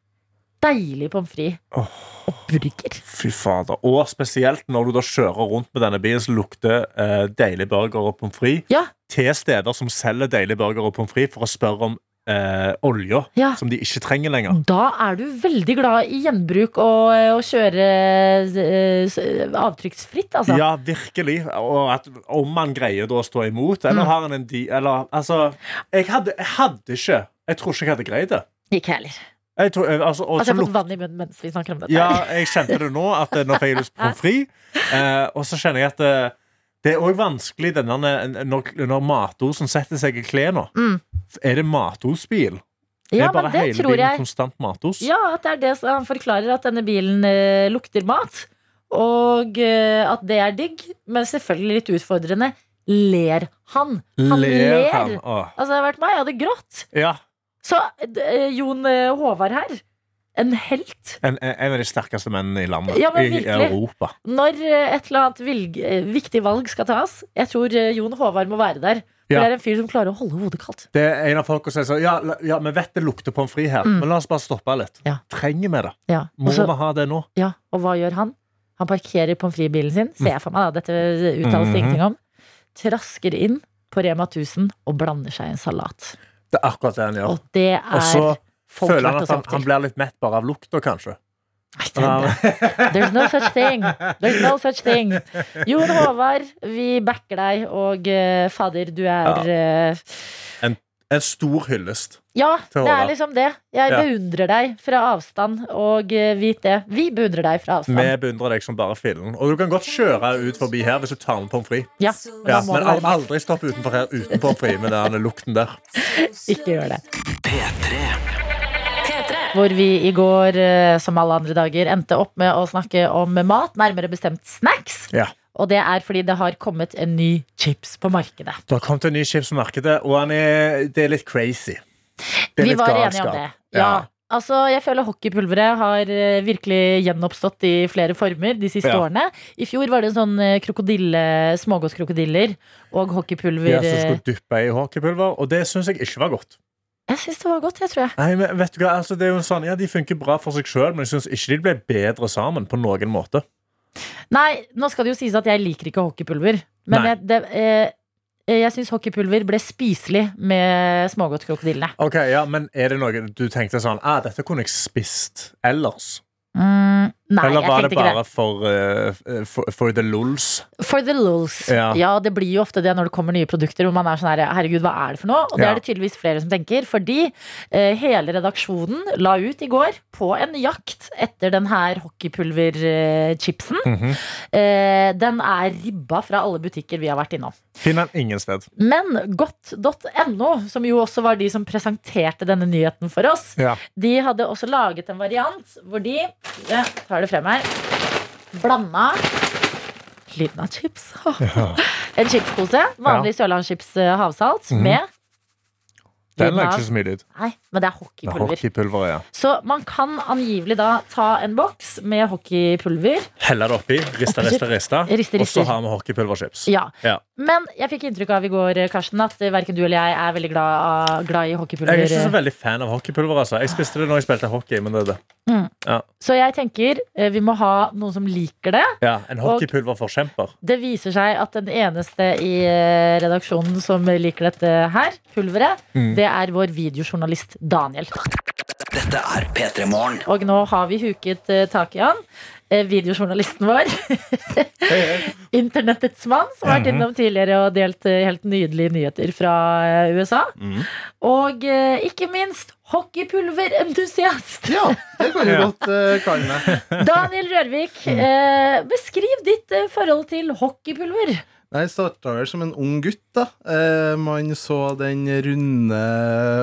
Speaker 2: deilig pommes frites
Speaker 3: Åh.
Speaker 2: og burger.
Speaker 3: Fy fader. Og spesielt når du da kjører rundt med denne bilen som lukter eh, deilig burger og pommes frites,
Speaker 2: Ja.
Speaker 3: til steder som selger deilig burger og pommes frites, for å spørre om eh, olja
Speaker 2: Ja.
Speaker 3: som de ikke trenger lenger.
Speaker 2: Da er du veldig glad i gjenbruk og eh, å kjøre eh, s- avtrykksfritt, altså.
Speaker 3: Ja, virkelig. Og at, om man greier da å stå imot,
Speaker 2: Mm.
Speaker 3: eller har han en di... Eller altså Jeg hadde, jeg hadde ikke Jeg tror ikke jeg hadde greid det.
Speaker 2: Ikke heller.
Speaker 3: Jeg tror, altså, og
Speaker 2: Altså,
Speaker 3: så
Speaker 2: jeg har
Speaker 3: luk-
Speaker 2: fått vann i munnen mens vi snakker om dette.
Speaker 3: Ja, jeg kjente det nå, at eh, nå fikk jeg lyst på pommes frites. Eh, og så kjenner jeg at eh, det er òg vanskelig denne, når, når matosen setter seg i klærne.
Speaker 2: Mm.
Speaker 3: Er det matosbil?
Speaker 2: Ja,
Speaker 3: er bare
Speaker 2: men det
Speaker 3: hele
Speaker 2: tror
Speaker 3: bilen
Speaker 2: jeg.
Speaker 3: konstant matos?
Speaker 2: Ja, at det er det som han forklarer, at denne bilen eh, lukter mat. Og eh, at det er digg, men selvfølgelig litt utfordrende. Ler han? Han ler.
Speaker 3: Ler han? Åh.
Speaker 2: Altså, det hadde vært meg, jeg hadde grått.
Speaker 3: Ja.
Speaker 2: Så eh, Jon eh, Håvard her, en helt.
Speaker 3: En, en av de sterkeste mennene i landet.
Speaker 2: Ja, men
Speaker 3: I
Speaker 2: virkelig.
Speaker 3: Europa.
Speaker 2: Når eh, et eller annet vilg, eh, viktig valg skal tas, jeg tror eh, Jon Håvard må være der. For
Speaker 3: Ja.
Speaker 2: det er en fyr som klarer å holde hodet kaldt.
Speaker 3: Det er en av folk som sier sånn Ja, la- ja vi vet det lukter pommes frites her, men la oss bare stoppe litt.
Speaker 2: Mm. Ja.
Speaker 3: Trenger vi det?
Speaker 2: Ja.
Speaker 3: Må
Speaker 2: Og så-
Speaker 3: vi ha det nå?
Speaker 2: Ja, og hva gjør han? Han parkerer pommes frites-bilen sin, ser jeg for meg, da, dette uttales
Speaker 3: Mhm.
Speaker 2: det ingenting om. Trasker inn på Rema 1000 og blander seg i en salat.
Speaker 3: Det er akkurat det han gjør.
Speaker 2: Og det er
Speaker 3: Og så
Speaker 2: folk
Speaker 3: føler han
Speaker 2: vært
Speaker 3: at
Speaker 2: oss
Speaker 3: han,
Speaker 2: opp
Speaker 3: han
Speaker 2: til.
Speaker 3: blir litt mett bare av lukta, kanskje.
Speaker 2: Nei, det er det. There's no such thing. There's no such thing. Jon Håvard, vi backer deg, og eh, fader, du er eh,
Speaker 3: En stor hyllest.
Speaker 2: Ja,
Speaker 3: Til
Speaker 2: det er
Speaker 3: Håvard.
Speaker 2: liksom det. Jeg
Speaker 3: Ja.
Speaker 2: beundrer deg fra avstand, og eh, vit det. Vi beundrer deg fra
Speaker 3: Vi
Speaker 2: avstand.
Speaker 3: beundrer deg som bare fillen. Og du kan godt kjøre ut forbi her hvis du tar med pommes frites.
Speaker 2: Ja, men da
Speaker 3: Ja,
Speaker 2: må
Speaker 3: men
Speaker 2: det være
Speaker 3: al- aldri stopp utenfor her uten pommes frites med den lukten der.
Speaker 2: Ikke gjør det.
Speaker 1: P3.
Speaker 2: Hvor vi i går, eh, som alle andre dager, endte opp med å snakke om mat, nærmere bestemt snacks.
Speaker 3: Ja.
Speaker 2: Og det er fordi det har kommet en ny chips på markedet.
Speaker 3: Det har kommet en ny chips på markedet, og han er, det er litt crazy. Det er
Speaker 2: Vi
Speaker 3: litt
Speaker 2: var enige
Speaker 3: galskap.
Speaker 2: om det. Ja.
Speaker 3: Ja.
Speaker 2: Altså, jeg føler hockeypulveret har eh, virkelig gjenoppstått i flere former de siste
Speaker 3: Ja.
Speaker 2: årene. I fjor var det sånn eh, krokodille, smågodtkrokodiller og hockeypulver.
Speaker 3: Ja, som
Speaker 2: eh,
Speaker 3: skulle dyppe i hockeypulver, og det syns jeg ikke var godt.
Speaker 2: Jeg syns det var godt, jeg, tror jeg.
Speaker 3: Nei, men vet du hva, altså, det er jo sånn, ja, De funker bra for seg sjøl, men jeg syns ikke de ble bedre sammen på noen måte.
Speaker 2: Nei, nå skal det jo sies at jeg liker ikke hockeypulver. Men
Speaker 3: Nei.
Speaker 2: jeg, det, eh, jeg syns hockeypulver ble spiselig med smågodtkrokodillene.
Speaker 3: Ok, ja, Men er det noe du tenkte sånn ah, Dette kunne jeg spist ellers?
Speaker 2: Mm, nei,
Speaker 3: Eller
Speaker 2: jeg
Speaker 3: var det
Speaker 2: tenkte ikke
Speaker 3: bare
Speaker 2: det.
Speaker 3: for, eh, for, for the lulls?
Speaker 2: For the lulls. Ja.
Speaker 3: Ja.
Speaker 2: det blir jo ofte det når det kommer nye produkter hvor man er sånn her Herregud, hva er det for noe? Og det
Speaker 3: Ja.
Speaker 2: er det tydeligvis flere som tenker, fordi eh, hele redaksjonen la ut i går på en jakt etter den her hockeypulverchipsen. eh, den er ribba fra alle butikker vi har vært innom.
Speaker 3: Finner den ingen sted.
Speaker 2: Men godt.no, som jo også var de som presenterte denne nyheten for oss,
Speaker 3: Ja.
Speaker 2: de hadde også laget en variant hvor de Jeg tar det frem her. Blanda lyden av chips. en chipspose. Vanlig Sørlandschips eh, havsalt
Speaker 3: Mhm.
Speaker 2: med
Speaker 3: Den
Speaker 2: lyden
Speaker 3: lager
Speaker 2: av-
Speaker 3: ikke så mye lyd.
Speaker 2: Nei, men det er
Speaker 3: Det er
Speaker 2: hockeypulver.
Speaker 3: Hockeypulver, ja.
Speaker 2: Så man kan angivelig da ta en boks med hockeypulver.
Speaker 3: Helle det oppi, riste, riste, riste.
Speaker 2: Riste,
Speaker 3: Og
Speaker 2: riste.
Speaker 3: så har vi hockeypulverchips.
Speaker 2: Ja.
Speaker 3: Ja.
Speaker 2: Men jeg fikk inntrykk av i går eh, Karsten, at eh, verken du eller jeg er veldig glad, av- glad i hockeypulver.
Speaker 3: Jeg er ikke så veldig fan av hockeypulver. altså Jeg spiste det når jeg spilte hockey. men det er det
Speaker 2: Så jeg tenker eh, vi må ha noen som liker det.
Speaker 3: Ja, En
Speaker 2: Og-
Speaker 3: hockeypulverforkjemper.
Speaker 2: Det viser seg at den eneste i eh, redaksjonen som liker dette her, pulveret, det er vår videojournalist Daniel.
Speaker 7: Dette er P3 Morgen.
Speaker 2: Og nå har vi huket eh, tak i han. eh, Videojournalisten vår. Internettets mann, som har vært innom tidligere og delt eh, helt nydelige nyheter fra eh, USA. Og eh, ikke minst hockeypulverentusiast.
Speaker 4: Ja, det kan du
Speaker 3: Ja.
Speaker 4: godt eh, kalle meg.
Speaker 2: Daniel Rørvik, eh, beskriv ditt eh, forhold til hockeypulver.
Speaker 4: Nei, Jeg starta vel som en ung gutt, da. Eh, man så den runde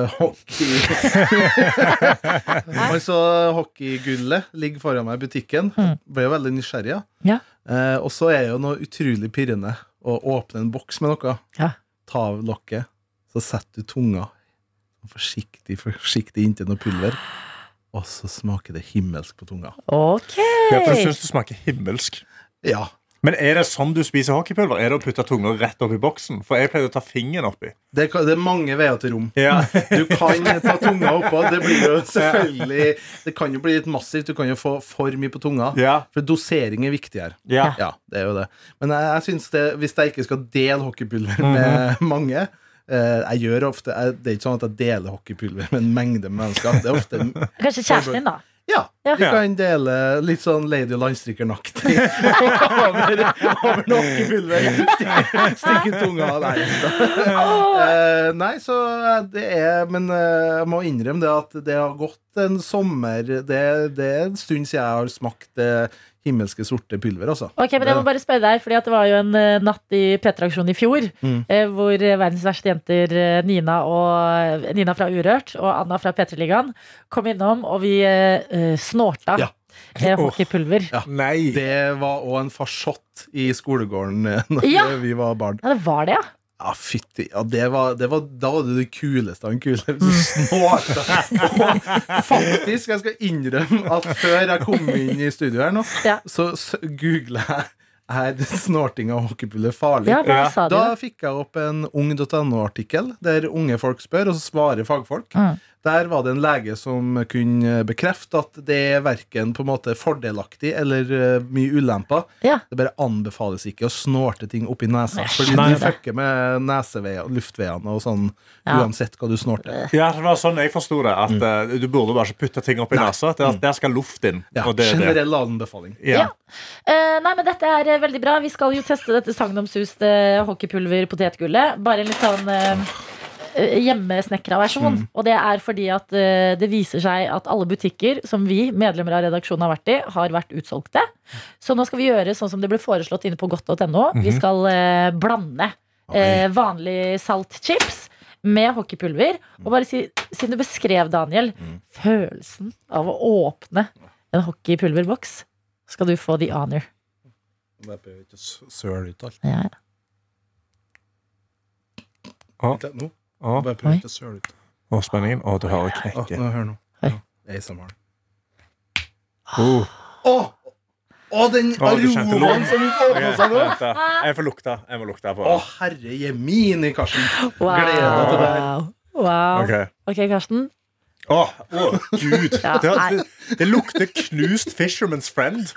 Speaker 4: hockey... man så hockeygullet ligge foran meg i butikken. Ble jo veldig nysgjerrig. da.
Speaker 2: Mm. Ja.
Speaker 4: Eh, og så er det jo noe utrolig pirrende å åpne en boks med noe.
Speaker 2: Ja.
Speaker 4: Ta av lokket, så setter du tunga forsiktig, forsiktig inntil noe pulver, og så smaker det himmelsk på tunga.
Speaker 2: Ok.
Speaker 3: Ja, for Jeg syns det smaker himmelsk.
Speaker 4: Ja,
Speaker 3: Men er det sånn du spiser hockeypulver? Er det å putte tunga rett oppi boksen? For jeg pleide å ta fingeren oppi.
Speaker 4: det, kan, det er mange veier til rom.
Speaker 3: Ja.
Speaker 4: Du kan ta tunga oppå. Det blir jo selvfølgelig Det kan jo bli litt massivt. Du kan jo få for mye på tunga.
Speaker 3: Ja.
Speaker 4: For dosering er viktig her.
Speaker 3: Ja.
Speaker 4: Ja, det er jo det. Men jeg, jeg synes det, hvis jeg ikke skal dele hockeypulver
Speaker 3: Mhm.
Speaker 4: med mange eh, Jeg gjør ofte jeg, Det er ikke sånn at jeg deler hockeypulver med en mengde med mennesker. Det er ofte
Speaker 2: Kanskje kjæresten din, da.
Speaker 4: Ja,
Speaker 2: Ja.
Speaker 4: vi kan dele litt sånn Lady og landstrykernaktig over, over noe hockeypulver. Stik- Stikke tunga av der. Eh, nei, så det er Men eh, jeg må innrømme det at det har gått en sommer Det, det er en stund siden jeg har smakt det himmelske sorte pulver, altså.
Speaker 2: Ok, men jeg må bare spørre deg, fordi at Det var jo en eh, natt i P3-aksjonen i fjor
Speaker 3: Mm.
Speaker 2: eh, hvor eh, verdens verste jenter, eh, Nina, og, eh, Nina fra Urørt og Anna fra P3-ligaen, kom innom, og vi eh, eh, snorta
Speaker 4: Ja.
Speaker 2: eh, hockeypulver. Ja.
Speaker 4: Ja.
Speaker 3: Nei.
Speaker 4: Det var òg en farsott i skolegården da
Speaker 2: Ja.
Speaker 4: vi var barn.
Speaker 2: det var det, ja.
Speaker 4: Ja, fytti. Ja, det var, det var, da var det det kuleste av den kule. Snorta. Og Faktisk, jeg skal innrømme at før jeg kom inn i studio her nå,
Speaker 2: Ja.
Speaker 4: så s- googlet jeg er snorting av hockeypuller farlig?
Speaker 2: Ja, hva sa de
Speaker 4: Da
Speaker 2: da?
Speaker 4: fikk jeg opp en ung.no-artikkel der unge folk spør, og så svarer fagfolk.
Speaker 2: Mm.
Speaker 4: Der var det en lege som kunne bekrefte at det er verken på en måte fordelaktig eller eh, mye ulemper.
Speaker 2: Ja.
Speaker 4: Det bare anbefales ikke å snorte ting oppi nesa,
Speaker 2: Nei,
Speaker 4: fordi
Speaker 3: nei,
Speaker 4: du
Speaker 2: det-
Speaker 4: fucker med neseveier, luftveiene og sånn,
Speaker 2: Ja. Øh.
Speaker 4: uansett hva du snorter.
Speaker 3: Ja, det var sånn jeg forsto det. At eh, Du burde bare ikke putte ting opp i
Speaker 4: Nei.
Speaker 3: nesa. Der, der skal luft inn.
Speaker 4: Ja,
Speaker 3: og det, er det.
Speaker 4: generell anbefaling.
Speaker 2: Ja.
Speaker 3: Ja.
Speaker 2: Eh, nei, men dette er eh, veldig bra. Vi skal jo teste dette sagnomsuste hockeypulver-potetgullet. Bare en litt sånn uh, hjemmesnekra versjon. Og det er fordi at eh, det viser seg at alle butikker som vi, medlemmer av redaksjonen, har vært i, har vært utsolgte. Så nå skal vi gjøre sånn som det ble foreslått inne på godt.no. Vi skal eh, blande eh, vanlig saltchips med hockeypulver. Og bare si, siden du beskrev, Daniel, følelsen av å åpne en hockeypulverboks skal du få the honor.
Speaker 4: Jeg prøver ikke å søle ut alt.
Speaker 2: Ja,
Speaker 4: Nå,
Speaker 3: Å,
Speaker 4: bare
Speaker 2: prøver Oi. ikke
Speaker 4: å søle ut. Ah,
Speaker 3: å, spenningen. Å, du hører knekket.
Speaker 4: nå, hør nå.
Speaker 2: Oi.
Speaker 4: ASMR.
Speaker 3: Oh.
Speaker 4: Å! Å, den
Speaker 3: Å, du kjente lukten.
Speaker 4: aromaen som åpna seg nå!
Speaker 3: vent da. Jeg får lukte. Jeg må lukte på
Speaker 4: Å,
Speaker 3: det.
Speaker 4: herre jemini, Karsten.
Speaker 2: Wow.
Speaker 4: Gleder deg til det.
Speaker 2: Wow.
Speaker 3: Ok.
Speaker 2: Ok, Karsten.
Speaker 3: Å, å, gud.
Speaker 2: Ja,
Speaker 3: det,
Speaker 2: nei.
Speaker 3: det, det lukter knust Fisherman's Friend.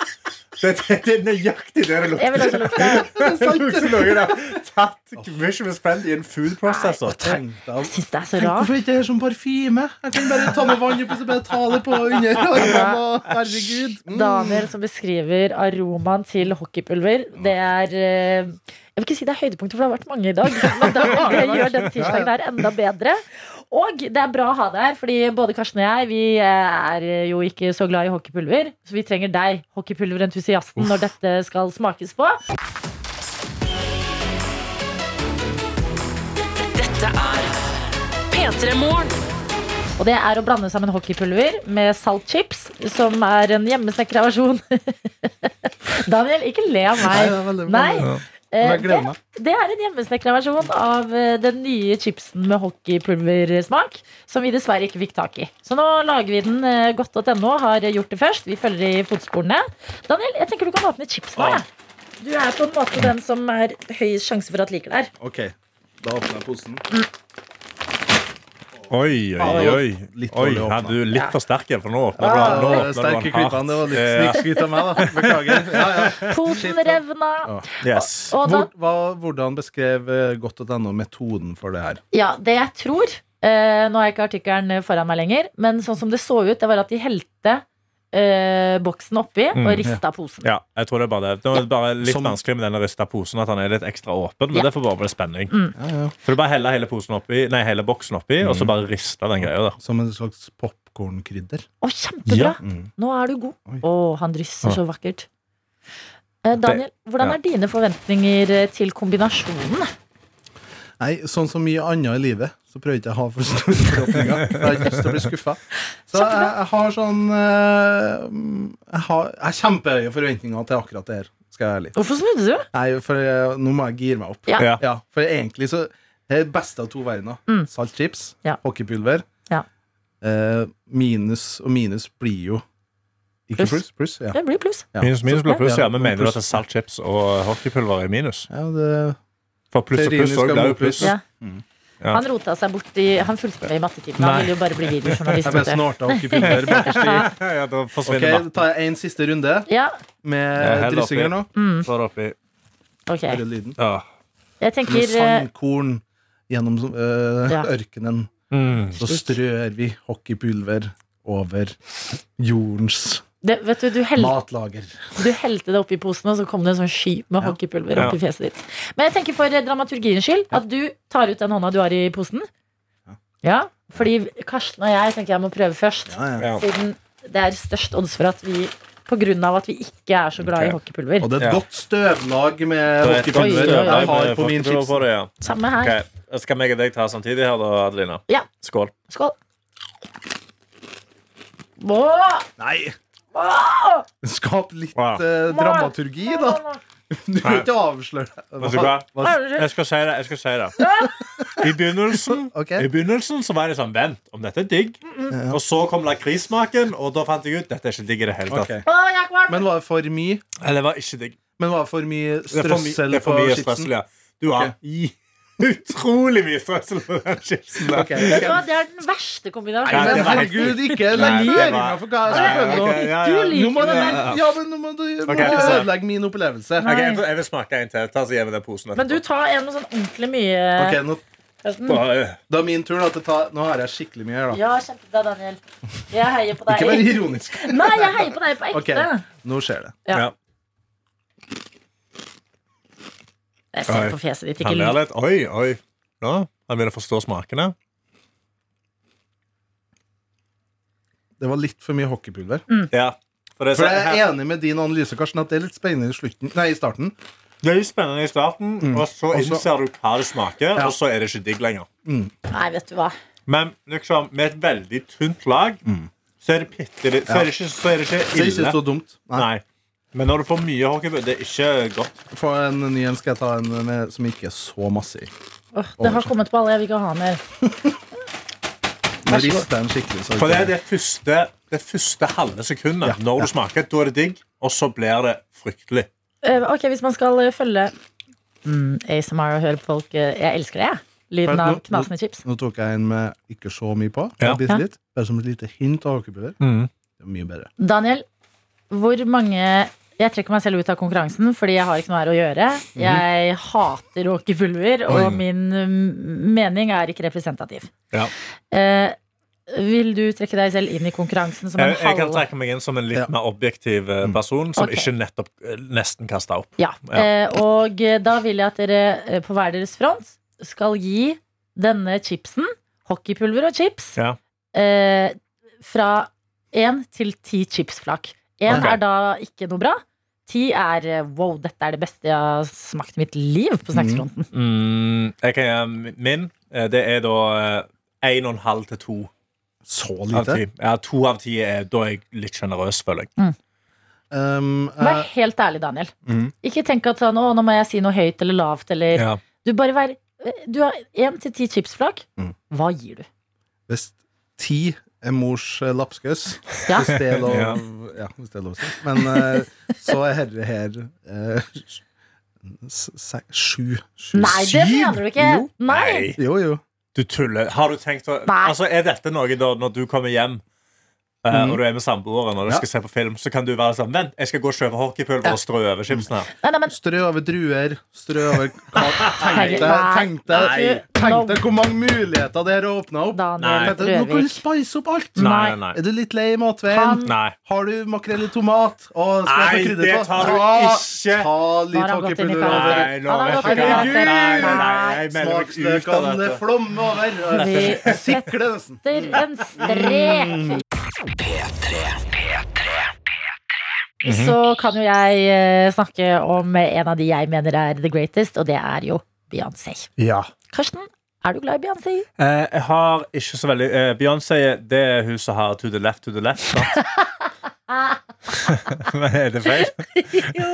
Speaker 3: Det, det, det er nøyaktig det det
Speaker 2: Jeg vil
Speaker 3: lukter.
Speaker 2: også lukte
Speaker 3: Det lukter noen har tatt Fisherman's Friend i en food processor.
Speaker 4: Tenk deg
Speaker 2: Jeg syns det er så
Speaker 4: Tenk
Speaker 2: rart.
Speaker 4: hvorfor ikke det er som parfyme? Jeg kan bare ta med vann oppi så bare ta det på under armene. og- Herregud.
Speaker 2: Daniel som beskriver aromaen til hockeypulver. Det er eh, Jeg vil ikke si det er høydepunktet, for det har vært mange i dag. Men da gjør den tirsdagen her enda bedre. Og det er bra å ha deg her, fordi både Karsten og jeg vi eh, er jo ikke så glad i hockeypulver. Så vi trenger deg, hockeypulverentusiasten, når dette skal smakes på.
Speaker 1: Dette er P3 Morgen.
Speaker 2: Og det er å blande sammen hockeypulver med saltchips, som er en hjemmesnekra versjon. Daniel, ikke le av
Speaker 4: Nei, det er
Speaker 2: meg.
Speaker 4: veldig bra.
Speaker 2: Nei.
Speaker 4: Ja.
Speaker 2: Eh,
Speaker 4: Men jeg gleder meg.
Speaker 2: det, det er en hjemmesnekra versjon av eh, den nye chipsen med hockeypulversmak, som vi dessverre ikke fikk tak i. Så nå lager vi den. eh, Godt.no har gjort det først. Vi følger i fotsporene. Daniel, jeg tenker du kan åpne chipsen
Speaker 4: Ah.
Speaker 2: her. jeg. Du er på en måte den som er høyest sjanse for at liker det her.
Speaker 4: OK, da åpner jeg posen.
Speaker 3: Oi, oi, oi.
Speaker 4: Litt
Speaker 3: oi
Speaker 4: dårlig åpnet.
Speaker 3: her, du er litt for sterk igjen, for nå åpner du
Speaker 4: Ja,
Speaker 3: den. Nå
Speaker 4: det
Speaker 3: åpner
Speaker 4: sterke
Speaker 3: du den
Speaker 4: kvittene, det var
Speaker 3: hardt.
Speaker 4: litt snikskryt av meg, da. Beklager. Ja, ja.
Speaker 2: Posen revna.
Speaker 4: Ah.
Speaker 3: Ja, yes.
Speaker 2: Og da
Speaker 4: Hvor, hva, hvordan beskrev eh, godt.no metoden for det her?
Speaker 2: Ja, det jeg tror eh, Nå har jeg ikke artikkelen foran meg lenger, men sånn som det så ut, det var at de helte eh, boksen oppi
Speaker 3: Mm,
Speaker 2: og rista posen.
Speaker 3: Ja, jeg tror det er bare det. Det er bare litt
Speaker 4: Som-
Speaker 3: vanskelig med denne rista posen, at han er litt ekstra åpen, men
Speaker 2: Ja.
Speaker 3: det får bare bli spenning.
Speaker 4: Ja, ja.
Speaker 3: Så du bare heller hele, posen oppi, nei, hele boksen oppi, og
Speaker 4: Mm.
Speaker 3: så bare rister den greia der.
Speaker 4: Som en slags popkornkrydder.
Speaker 2: Å, kjempebra!
Speaker 3: Ja. Mm.
Speaker 2: Nå er du god.
Speaker 4: Oi.
Speaker 2: Å, han drysser
Speaker 3: Ja.
Speaker 2: så vakkert. Eh, Daniel, hvordan
Speaker 3: ja.
Speaker 2: er dine forventninger eh, til kombinasjonen?
Speaker 4: Nei, sånn som mye annet i livet, så prøver jeg ikke å ha for store forhåpninger. for Jeg har ikke lyst til å bli skuffa. Så jeg, jeg har sånn eh, Jeg har, jeg har kjempehøye forventninger til akkurat det her, skal jeg være ærlig.
Speaker 2: Hvorfor snudde du?
Speaker 4: Nei, for eh, nå må jeg gire meg opp.
Speaker 2: Ja.
Speaker 3: Ja.
Speaker 4: Ja, for egentlig så Det er det beste av to verdener.
Speaker 2: Mm.
Speaker 4: Saltchips,
Speaker 2: Ja.
Speaker 4: hockeypulver.
Speaker 2: Ja.
Speaker 4: Eh, minus og minus blir jo Ikke
Speaker 2: Pluss.
Speaker 4: pluss? Pluss, ja.
Speaker 2: Det blir pluss.
Speaker 4: Ja.
Speaker 3: Minus minus blir pluss, ja. Men mener du
Speaker 4: Pluss.
Speaker 3: at saltchips og hockeypulver er minus?
Speaker 4: Ja, det,
Speaker 3: For pluss og
Speaker 4: Teorien
Speaker 3: pluss også
Speaker 4: skal
Speaker 3: blir
Speaker 4: mot
Speaker 3: jo pluss.
Speaker 4: pluss.
Speaker 2: Ja.
Speaker 3: Mm. Ja.
Speaker 2: Han rota seg bort i Han fulgte ikke med i mattetimen. Han
Speaker 3: Nei.
Speaker 2: ville jo bare bli
Speaker 4: jeg ble
Speaker 2: videojournalist. vet
Speaker 4: snorta hockeypulver bakerst i.
Speaker 3: Ja, da
Speaker 4: Ok,
Speaker 3: forsvinner
Speaker 4: da
Speaker 3: matten.
Speaker 4: tar jeg en siste runde
Speaker 2: du. Ja,
Speaker 4: med
Speaker 3: hell
Speaker 4: dryssinger nå.
Speaker 3: oppi. Så er det oppi.
Speaker 2: ok.
Speaker 4: Hører lyden.
Speaker 3: Ja.
Speaker 2: Jeg
Speaker 4: Med
Speaker 2: tenker eh,
Speaker 4: sandkorn gjennom eh,
Speaker 2: Ja.
Speaker 4: ørkenen.
Speaker 3: Mm.
Speaker 4: Så strør vi hockeypulver over jordens
Speaker 2: det, Vet du, du helte
Speaker 4: matlager.
Speaker 2: Du helte det oppi posen, og så kom det en sånn sky med hockeypulver oppi fjeset ditt. Men jeg tenker for eh, dramaturgiens skyld at du tar ut den hånda du har i posen. Ja, fordi Karsten og jeg tenker jeg må prøve først.
Speaker 4: Ja, ja.
Speaker 3: Ja.
Speaker 2: Siden det er størst odds for at vi På grunn av at vi ikke er så glad i
Speaker 3: Ok.
Speaker 2: hockeypulver.
Speaker 4: Og det er
Speaker 3: Ja.
Speaker 4: et godt støvlag med
Speaker 3: Det er et godt
Speaker 4: hockeypulver.
Speaker 2: støvlag
Speaker 4: Jeg har
Speaker 3: med
Speaker 4: på
Speaker 3: hockeypulver
Speaker 4: min chips.
Speaker 3: på det, ja.
Speaker 2: Samme her.
Speaker 3: Ok, Skal meg og deg ta samtidig her, da, Adelina?
Speaker 2: Ja.
Speaker 3: Skål.
Speaker 2: Skål. Åh!
Speaker 4: Nei! Skap litt
Speaker 3: Wow.
Speaker 4: eh, dramaturgi, da. Du kan ikke avsløre
Speaker 3: Vet du hva?
Speaker 4: Hva-
Speaker 3: Jeg skal si det. jeg skal si det I begynnelsen
Speaker 4: Ok.
Speaker 3: I begynnelsen så var det sånn Vent, om dette er digg? Og så kom lakrissmaken, og da fant jeg ut dette er ikke digg i det hele tatt.
Speaker 4: Ok.
Speaker 2: Å, jeg er kvalm!
Speaker 4: Men var det for mye?
Speaker 3: Eller det var ikke digg.
Speaker 4: Men var det for mye
Speaker 3: Det er for, mi,
Speaker 4: strøssel
Speaker 3: det er
Speaker 4: på
Speaker 3: for mye
Speaker 4: chipsen?
Speaker 3: strøssel, ja. Du har utrolig mye strøssel på den chipsen der.
Speaker 4: Ok.
Speaker 2: Vet du hva, det er den verste kombinasjonen.
Speaker 3: Ja,
Speaker 4: Men
Speaker 3: det var ikke-
Speaker 4: herregud, ikke
Speaker 3: Nei,
Speaker 4: legg
Speaker 3: det
Speaker 4: føringa
Speaker 3: var-
Speaker 4: for hva jeg skal føle
Speaker 3: Nei,
Speaker 4: nå.
Speaker 3: ok, ja,
Speaker 2: altså, Du
Speaker 3: ja.
Speaker 2: liker
Speaker 4: Nå må du
Speaker 2: den.
Speaker 4: ja, men nå må du nå må
Speaker 3: Ok,
Speaker 4: du
Speaker 3: så-
Speaker 4: ødelegge min opplevelse.
Speaker 3: Ok,
Speaker 2: Nei.
Speaker 3: jeg, vil- jeg vil smake en til. Ta så Gi meg den posen.
Speaker 2: Men du tar en med sånn ordentlig mye.
Speaker 4: Ok, nå,
Speaker 2: Karsten.
Speaker 3: Bare-
Speaker 4: Da er min tur. Da, til å ta, nå har jeg skikkelig mye her, da.
Speaker 2: Ja, kjempebra, Daniel. Jeg heier på
Speaker 4: Ikke vær
Speaker 2: deg.
Speaker 4: ironisk.
Speaker 2: Nei, jeg heier på deg på ekte.
Speaker 4: Ok, Nå skjer det.
Speaker 2: Ja.
Speaker 3: ja.
Speaker 2: Jeg ser på fjeset ditt, ikke
Speaker 3: Han ler
Speaker 2: lyd.
Speaker 3: litt. Oi, oi. Ja, han begynner å forstå smakene.
Speaker 4: Det var litt for mye hockeypulver.
Speaker 3: Ja. For det, er
Speaker 4: For
Speaker 3: så-
Speaker 4: jeg
Speaker 3: her-
Speaker 4: er enig med din analyse, Karsten, at det er litt spennende i, slutten, nei, i starten.
Speaker 3: det er litt spennende i starten, Mm. og så
Speaker 4: Og så-
Speaker 3: innser du hva det smaker, og så er det ikke digg lenger.
Speaker 2: Nei, vet du hva.
Speaker 3: Men liksom, med et veldig tynt lag, så er det bitte litt så, er det ikke- Mm. så er det ikke
Speaker 4: Så det er
Speaker 3: ille.
Speaker 4: ikke så dumt. Nei.
Speaker 3: Nei. Men når du får mye hockeypulver Det er ikke godt.
Speaker 4: Få en ny en, skal jeg ta en med, som ikke er så masse i.
Speaker 2: Åh, det har kommet på alle. Jeg vil ikke ha mer.
Speaker 4: Nå rister jeg den skikkelig. Så
Speaker 3: For det er det første, det første halve sekundet når du smaker. Da er det digg, og så blir det fryktelig.
Speaker 2: Eh, ok, Hvis man skal eh, følge mm, ASMR og høre på folk eh, Jeg elsker det, jeg. Lyden
Speaker 4: Bare
Speaker 2: av
Speaker 4: nå-
Speaker 2: knasende chips.
Speaker 4: Nå tok jeg en med ikke så mye på.
Speaker 3: Ja.
Speaker 4: bare bitte litt. Bare som et lite hint av hakebøller.
Speaker 3: Mm.
Speaker 4: Det er mye bedre.
Speaker 2: Daniel, hvor mange Jeg trekker meg selv ut av konkurransen fordi jeg har ikke noe her å gjøre.
Speaker 3: Mhm.
Speaker 2: Jeg hater åkerpulver, og min mm, mening er ikke representativ.
Speaker 3: Ja.
Speaker 2: Eh, vil du trekke deg selv inn i konkurransen som en
Speaker 3: Jeg, jeg kan
Speaker 2: halv...
Speaker 3: trekke meg inn som en litt
Speaker 4: Ja.
Speaker 3: mer objektiv eh, person som
Speaker 2: Ok.
Speaker 3: ikke nettopp eh, nesten kasta opp.
Speaker 2: Ja.
Speaker 3: Ja.
Speaker 2: Eh, og eh, da vil jeg at dere eh, på hver deres front skal gi denne chipsen, hockeypulver og chips,
Speaker 3: Ja.
Speaker 2: eh, fra én til ti chipsflak. Én
Speaker 3: Ok.
Speaker 2: er da ikke noe bra. Ti er eh, wow, dette er det beste jeg har smakt i mitt liv på snacksfronten.
Speaker 3: Mm, jeg kan gjøre min. Eh, Det er da eh, en og en halv til to
Speaker 4: Så
Speaker 3: av
Speaker 4: lite.
Speaker 3: ti. Ja, to av ti er da er jeg litt sjenerøs, føler jeg.
Speaker 4: Um,
Speaker 2: Vær
Speaker 4: jeg,
Speaker 2: helt ærlig, Daniel.
Speaker 4: Mhm.
Speaker 2: Ikke tenk at sånn, å, nå må jeg si noe høyt eller lavt. Eller.
Speaker 3: Mm. Ja.
Speaker 2: Du bare vær eh, Du har én til ti chipsflak.
Speaker 3: Mm.
Speaker 4: Mhm.
Speaker 2: Hva gir du?
Speaker 4: hvis ti er mors eh, lapskaus,
Speaker 2: Ja.
Speaker 4: hvis det er lov,
Speaker 3: Ja.
Speaker 4: ja, hvis det er lov å si. Men eh, så er herre her eh, s- se- sju. Sju.
Speaker 2: Nei, det mener du ikke!
Speaker 4: Jo.
Speaker 2: Nei.
Speaker 4: Jo, jo.
Speaker 3: Du tuller. Har du tenkt å
Speaker 2: Nei.
Speaker 3: Altså, Er dette noe da når du kommer hjem eh, og du er med samboeren og du
Speaker 4: Ja.
Speaker 3: skal se på film, så kan du være sånn Vent, jeg skal gå og kjøpe hockeypulver og strø over chipsen her.
Speaker 2: Nei, nei, men
Speaker 4: Strø over druer, strø over kake. Tenk deg-
Speaker 2: Nei.
Speaker 4: tenk deg-
Speaker 2: Nei.
Speaker 4: tenk deg hvor mange muligheter det her åpna opp.
Speaker 2: Daniel
Speaker 4: Petter, Nå kan du
Speaker 2: Røvik.
Speaker 4: spice opp alt.
Speaker 3: Nei,
Speaker 2: Nei.
Speaker 3: nei,
Speaker 4: Er du litt lei i matveien?
Speaker 2: Han-
Speaker 3: nei.
Speaker 4: Har du makrell i tomat? Å, skal jeg
Speaker 3: Nei,
Speaker 4: få krydder
Speaker 3: det
Speaker 4: på?
Speaker 3: tar du
Speaker 4: Ta-
Speaker 3: ikke.
Speaker 4: Ta
Speaker 2: Nå har
Speaker 4: litt
Speaker 2: han gått inn i
Speaker 4: hockeypulver over.
Speaker 2: karakter.
Speaker 3: Nei,
Speaker 2: Han har
Speaker 3: lover
Speaker 2: gått inn i
Speaker 4: ikke.
Speaker 2: karakter.
Speaker 3: Nei, nei, nei,
Speaker 2: Nei.
Speaker 3: jeg melder meg ut av
Speaker 4: Smaksløkene
Speaker 3: dette.
Speaker 4: flommer over.
Speaker 2: Vi
Speaker 4: Sikler nesten.
Speaker 2: setter en strek. Så kan jo jeg eh, snakke om en av de jeg mener er the greatest, og det er jo Beyoncé.
Speaker 3: Ja.
Speaker 2: Karsten, er du glad i Beyoncé?
Speaker 3: Eh, jeg har ikke så veldig eh, Beyoncé det er hun som har to the left, to the left. Sant? Men er det feil?
Speaker 2: Jo,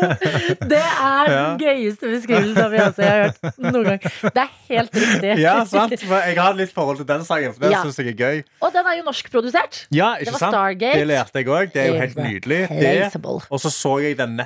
Speaker 2: det er den gøyeste beskrivelsen av Beyoncé jeg har hørt noen gang. Det er helt riktig.
Speaker 3: Ja, sant? For jeg har litt forhold til den sangen, for den
Speaker 2: Ja.
Speaker 3: syns jeg er gøy.
Speaker 2: Og den er jo norskprodusert.
Speaker 3: Ja, ikke
Speaker 2: Det var
Speaker 3: sant?
Speaker 2: Stargate.
Speaker 3: Det lærte jeg òg. Det er jo helt nydelig. Det.
Speaker 2: Irreplaceable.
Speaker 3: Og så så jeg den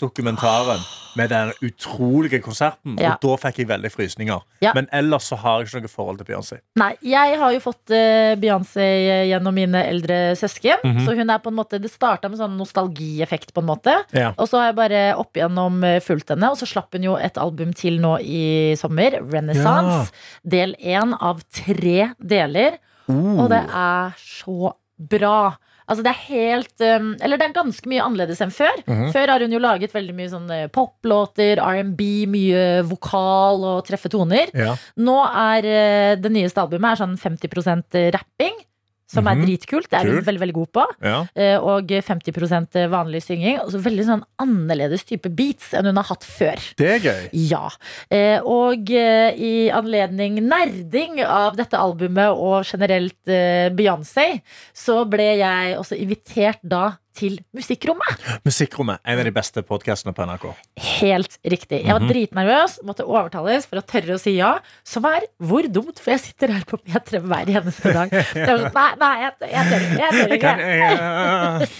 Speaker 3: Netflix-dokumentaren med den utrolige konserten,
Speaker 2: Ja.
Speaker 3: og da fikk jeg veldig frysninger.
Speaker 2: Ja.
Speaker 3: Men ellers så har jeg ikke noe forhold til Beyoncé.
Speaker 2: Nei, jeg har jo fått eh, Beyoncé gjennom mine eldre søsken. Så hun er på en måte, det starta med sånn nostalgieffekt, på en måte.
Speaker 3: Ja.
Speaker 2: Og så har jeg bare opp igjennom eh, fulgt henne, og så slapp hun jo et album til nå i sommer. Renaissance. Del én av tre deler. Og det er så bra. Altså det er helt um, Eller det er ganske mye annerledes enn før. Før har hun jo laget veldig mye sånn eh, poplåter, R&B, mye vokal og treffe toner. Nå er eh, det nyeste albumet er sånn 50 rapping, som
Speaker 3: Mhm.
Speaker 2: er dritkult. Det er hun
Speaker 3: Kult.
Speaker 2: veldig, veldig god på.
Speaker 3: Ja.
Speaker 2: Eh, Og 50 vanlig synging. Og så veldig sånn annerledes type beats enn hun har hatt før.
Speaker 3: Det er gøy.
Speaker 2: Ja. Eh, og eh, i anledning nerding av dette albumet og generelt eh, Beyoncé, så ble jeg også invitert da til Musikkrommet.
Speaker 3: Musikkrommet. En av de beste podkastene på NRK.
Speaker 2: Helt riktig. Jeg var dritnervøs, måtte overtales for å tørre å si ja. Som er hvor dumt, for jeg sitter her på P3 hver eneste dag. Jeg var sånn, nei, nei, jeg, jeg tør ikke. Jeg tør
Speaker 3: Jeg kan,
Speaker 2: ikke.
Speaker 3: jeg,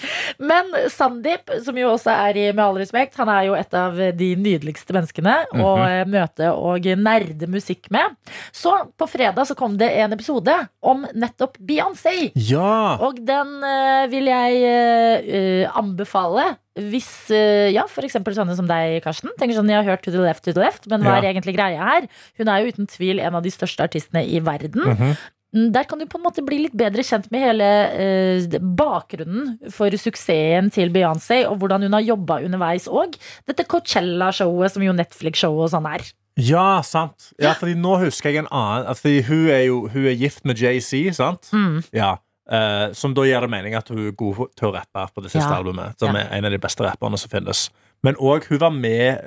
Speaker 2: Men Sandeep, som jo også er i Med all respekt, han er jo et av de nydeligste menneskene å eh, møte og nerde musikk med. Så på fredag så kom det en episode om nettopp Beyoncé.
Speaker 3: ja.
Speaker 2: Og den eh, vil jeg eh, eh, anbefale hvis eh, ja, for eksempel sånne som deg, Karsten. Tenker sånn, Jeg har hørt To the left, to the left, men hva er
Speaker 3: Ja.
Speaker 2: egentlig greia her? Hun er jo uten tvil en av de største artistene i verden.
Speaker 3: Mhm.
Speaker 2: Mm, Der kan du på en måte bli litt bedre kjent med hele eh, bakgrunnen for suksessen til Beyoncé, og hvordan hun har jobba underveis òg. Dette Coachella-showet, som jo Netflix-showet og sånn er.
Speaker 3: Ja, sant. Ja, fordi nå husker jeg en annen. At fordi hun er jo hun er gift med JC, sant?
Speaker 2: Mm.
Speaker 3: Ja. Eh, som da gir det mening at hun er god til å rappe på det siste
Speaker 2: Ja.
Speaker 3: albumet. Som
Speaker 2: Ja.
Speaker 3: er en av de beste rapperne som finnes. Men òg hun var med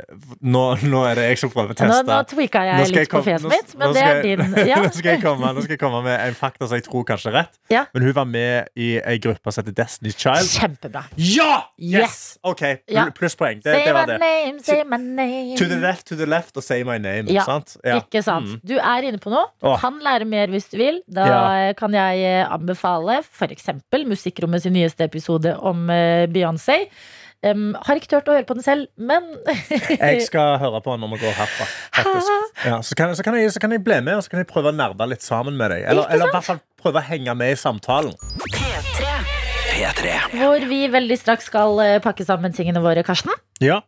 Speaker 3: nå, nå er det jeg som prøver å
Speaker 2: Nå,
Speaker 3: teste.
Speaker 2: nå tweaka jeg,
Speaker 3: skal
Speaker 2: litt på
Speaker 3: komme-
Speaker 2: fjeset
Speaker 3: nå-
Speaker 2: mitt, men
Speaker 3: nå
Speaker 2: det er
Speaker 3: skal jeg-
Speaker 2: din. Ja.
Speaker 3: nå, skal jeg komme, nå skal jeg komme med en fakta som jeg tror kanskje er rett.
Speaker 2: Ja.
Speaker 3: Men hun var med i ei gruppe som heter Destiny's Child.
Speaker 2: Kjempebra.
Speaker 3: Ja! Yes!
Speaker 2: Yes.
Speaker 3: OK, pl-
Speaker 2: Ja.
Speaker 3: plusspoeng. Det,
Speaker 2: Say
Speaker 3: det var
Speaker 2: my
Speaker 3: det.
Speaker 2: name, say my name.
Speaker 3: To the left, to the left og say my name.
Speaker 2: Ja.
Speaker 3: Sant? Ja. Mm.
Speaker 2: Ikke sant. Du er inne på noe. Du
Speaker 3: Åh.
Speaker 2: kan lære mer hvis du vil. Da
Speaker 3: Ja.
Speaker 2: kan jeg eh, anbefale f.eks. Musikkrommet sin nyeste episode om eh, Beyoncé. Em, har ikke turt å høre på den selv, men Eh,
Speaker 3: Jeg skal høre på han når vi går herfra. faktisk. Ja, så, kan, så, kan jeg, så kan jeg bli med og så kan jeg prøve å nerde litt sammen med deg. Eller,
Speaker 2: Ikke
Speaker 3: eller i hvert fall prøve å henge med i samtalen.
Speaker 7: P3.
Speaker 2: hvor vi veldig straks skal eh, pakke sammen tingene våre, Karsten.
Speaker 3: Ja.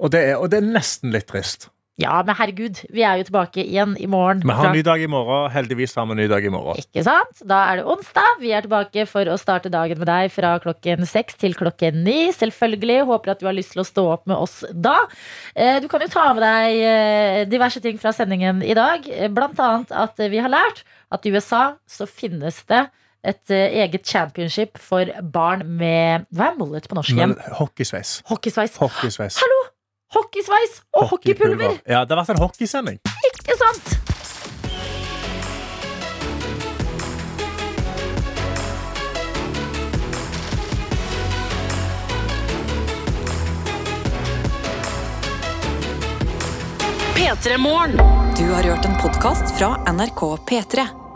Speaker 3: Og det, er, og det er nesten litt trist.
Speaker 2: Ja, men herregud, vi er jo tilbake igjen i morgen.
Speaker 3: Vi har
Speaker 2: fra-
Speaker 3: en ny dag i morgen. Heldigvis har vi en ny dag i morgen.
Speaker 2: Ikke sant? Da er det onsdag. Vi er tilbake for å starte dagen med deg fra klokken seks til klokken ni. Selvfølgelig. Håper at du har lyst til å stå opp med oss da. Eh, Du kan jo ta med deg eh, diverse ting fra sendingen i dag. Eh, Blant annet at eh, vi har lært at i USA så finnes det et eh, eget championship for barn med Hva er mullet på norsk igjen?
Speaker 3: Men hockeysveis.
Speaker 2: Hockeysveis.
Speaker 3: Hockeysveis.
Speaker 2: Hallo! Hockeysveis og hockeypulver!
Speaker 3: Ja, det har vært en hockeysending.
Speaker 2: Ikke sant?
Speaker 1: P3 Morgen.
Speaker 8: Du har hørt en podkast fra NRK P3.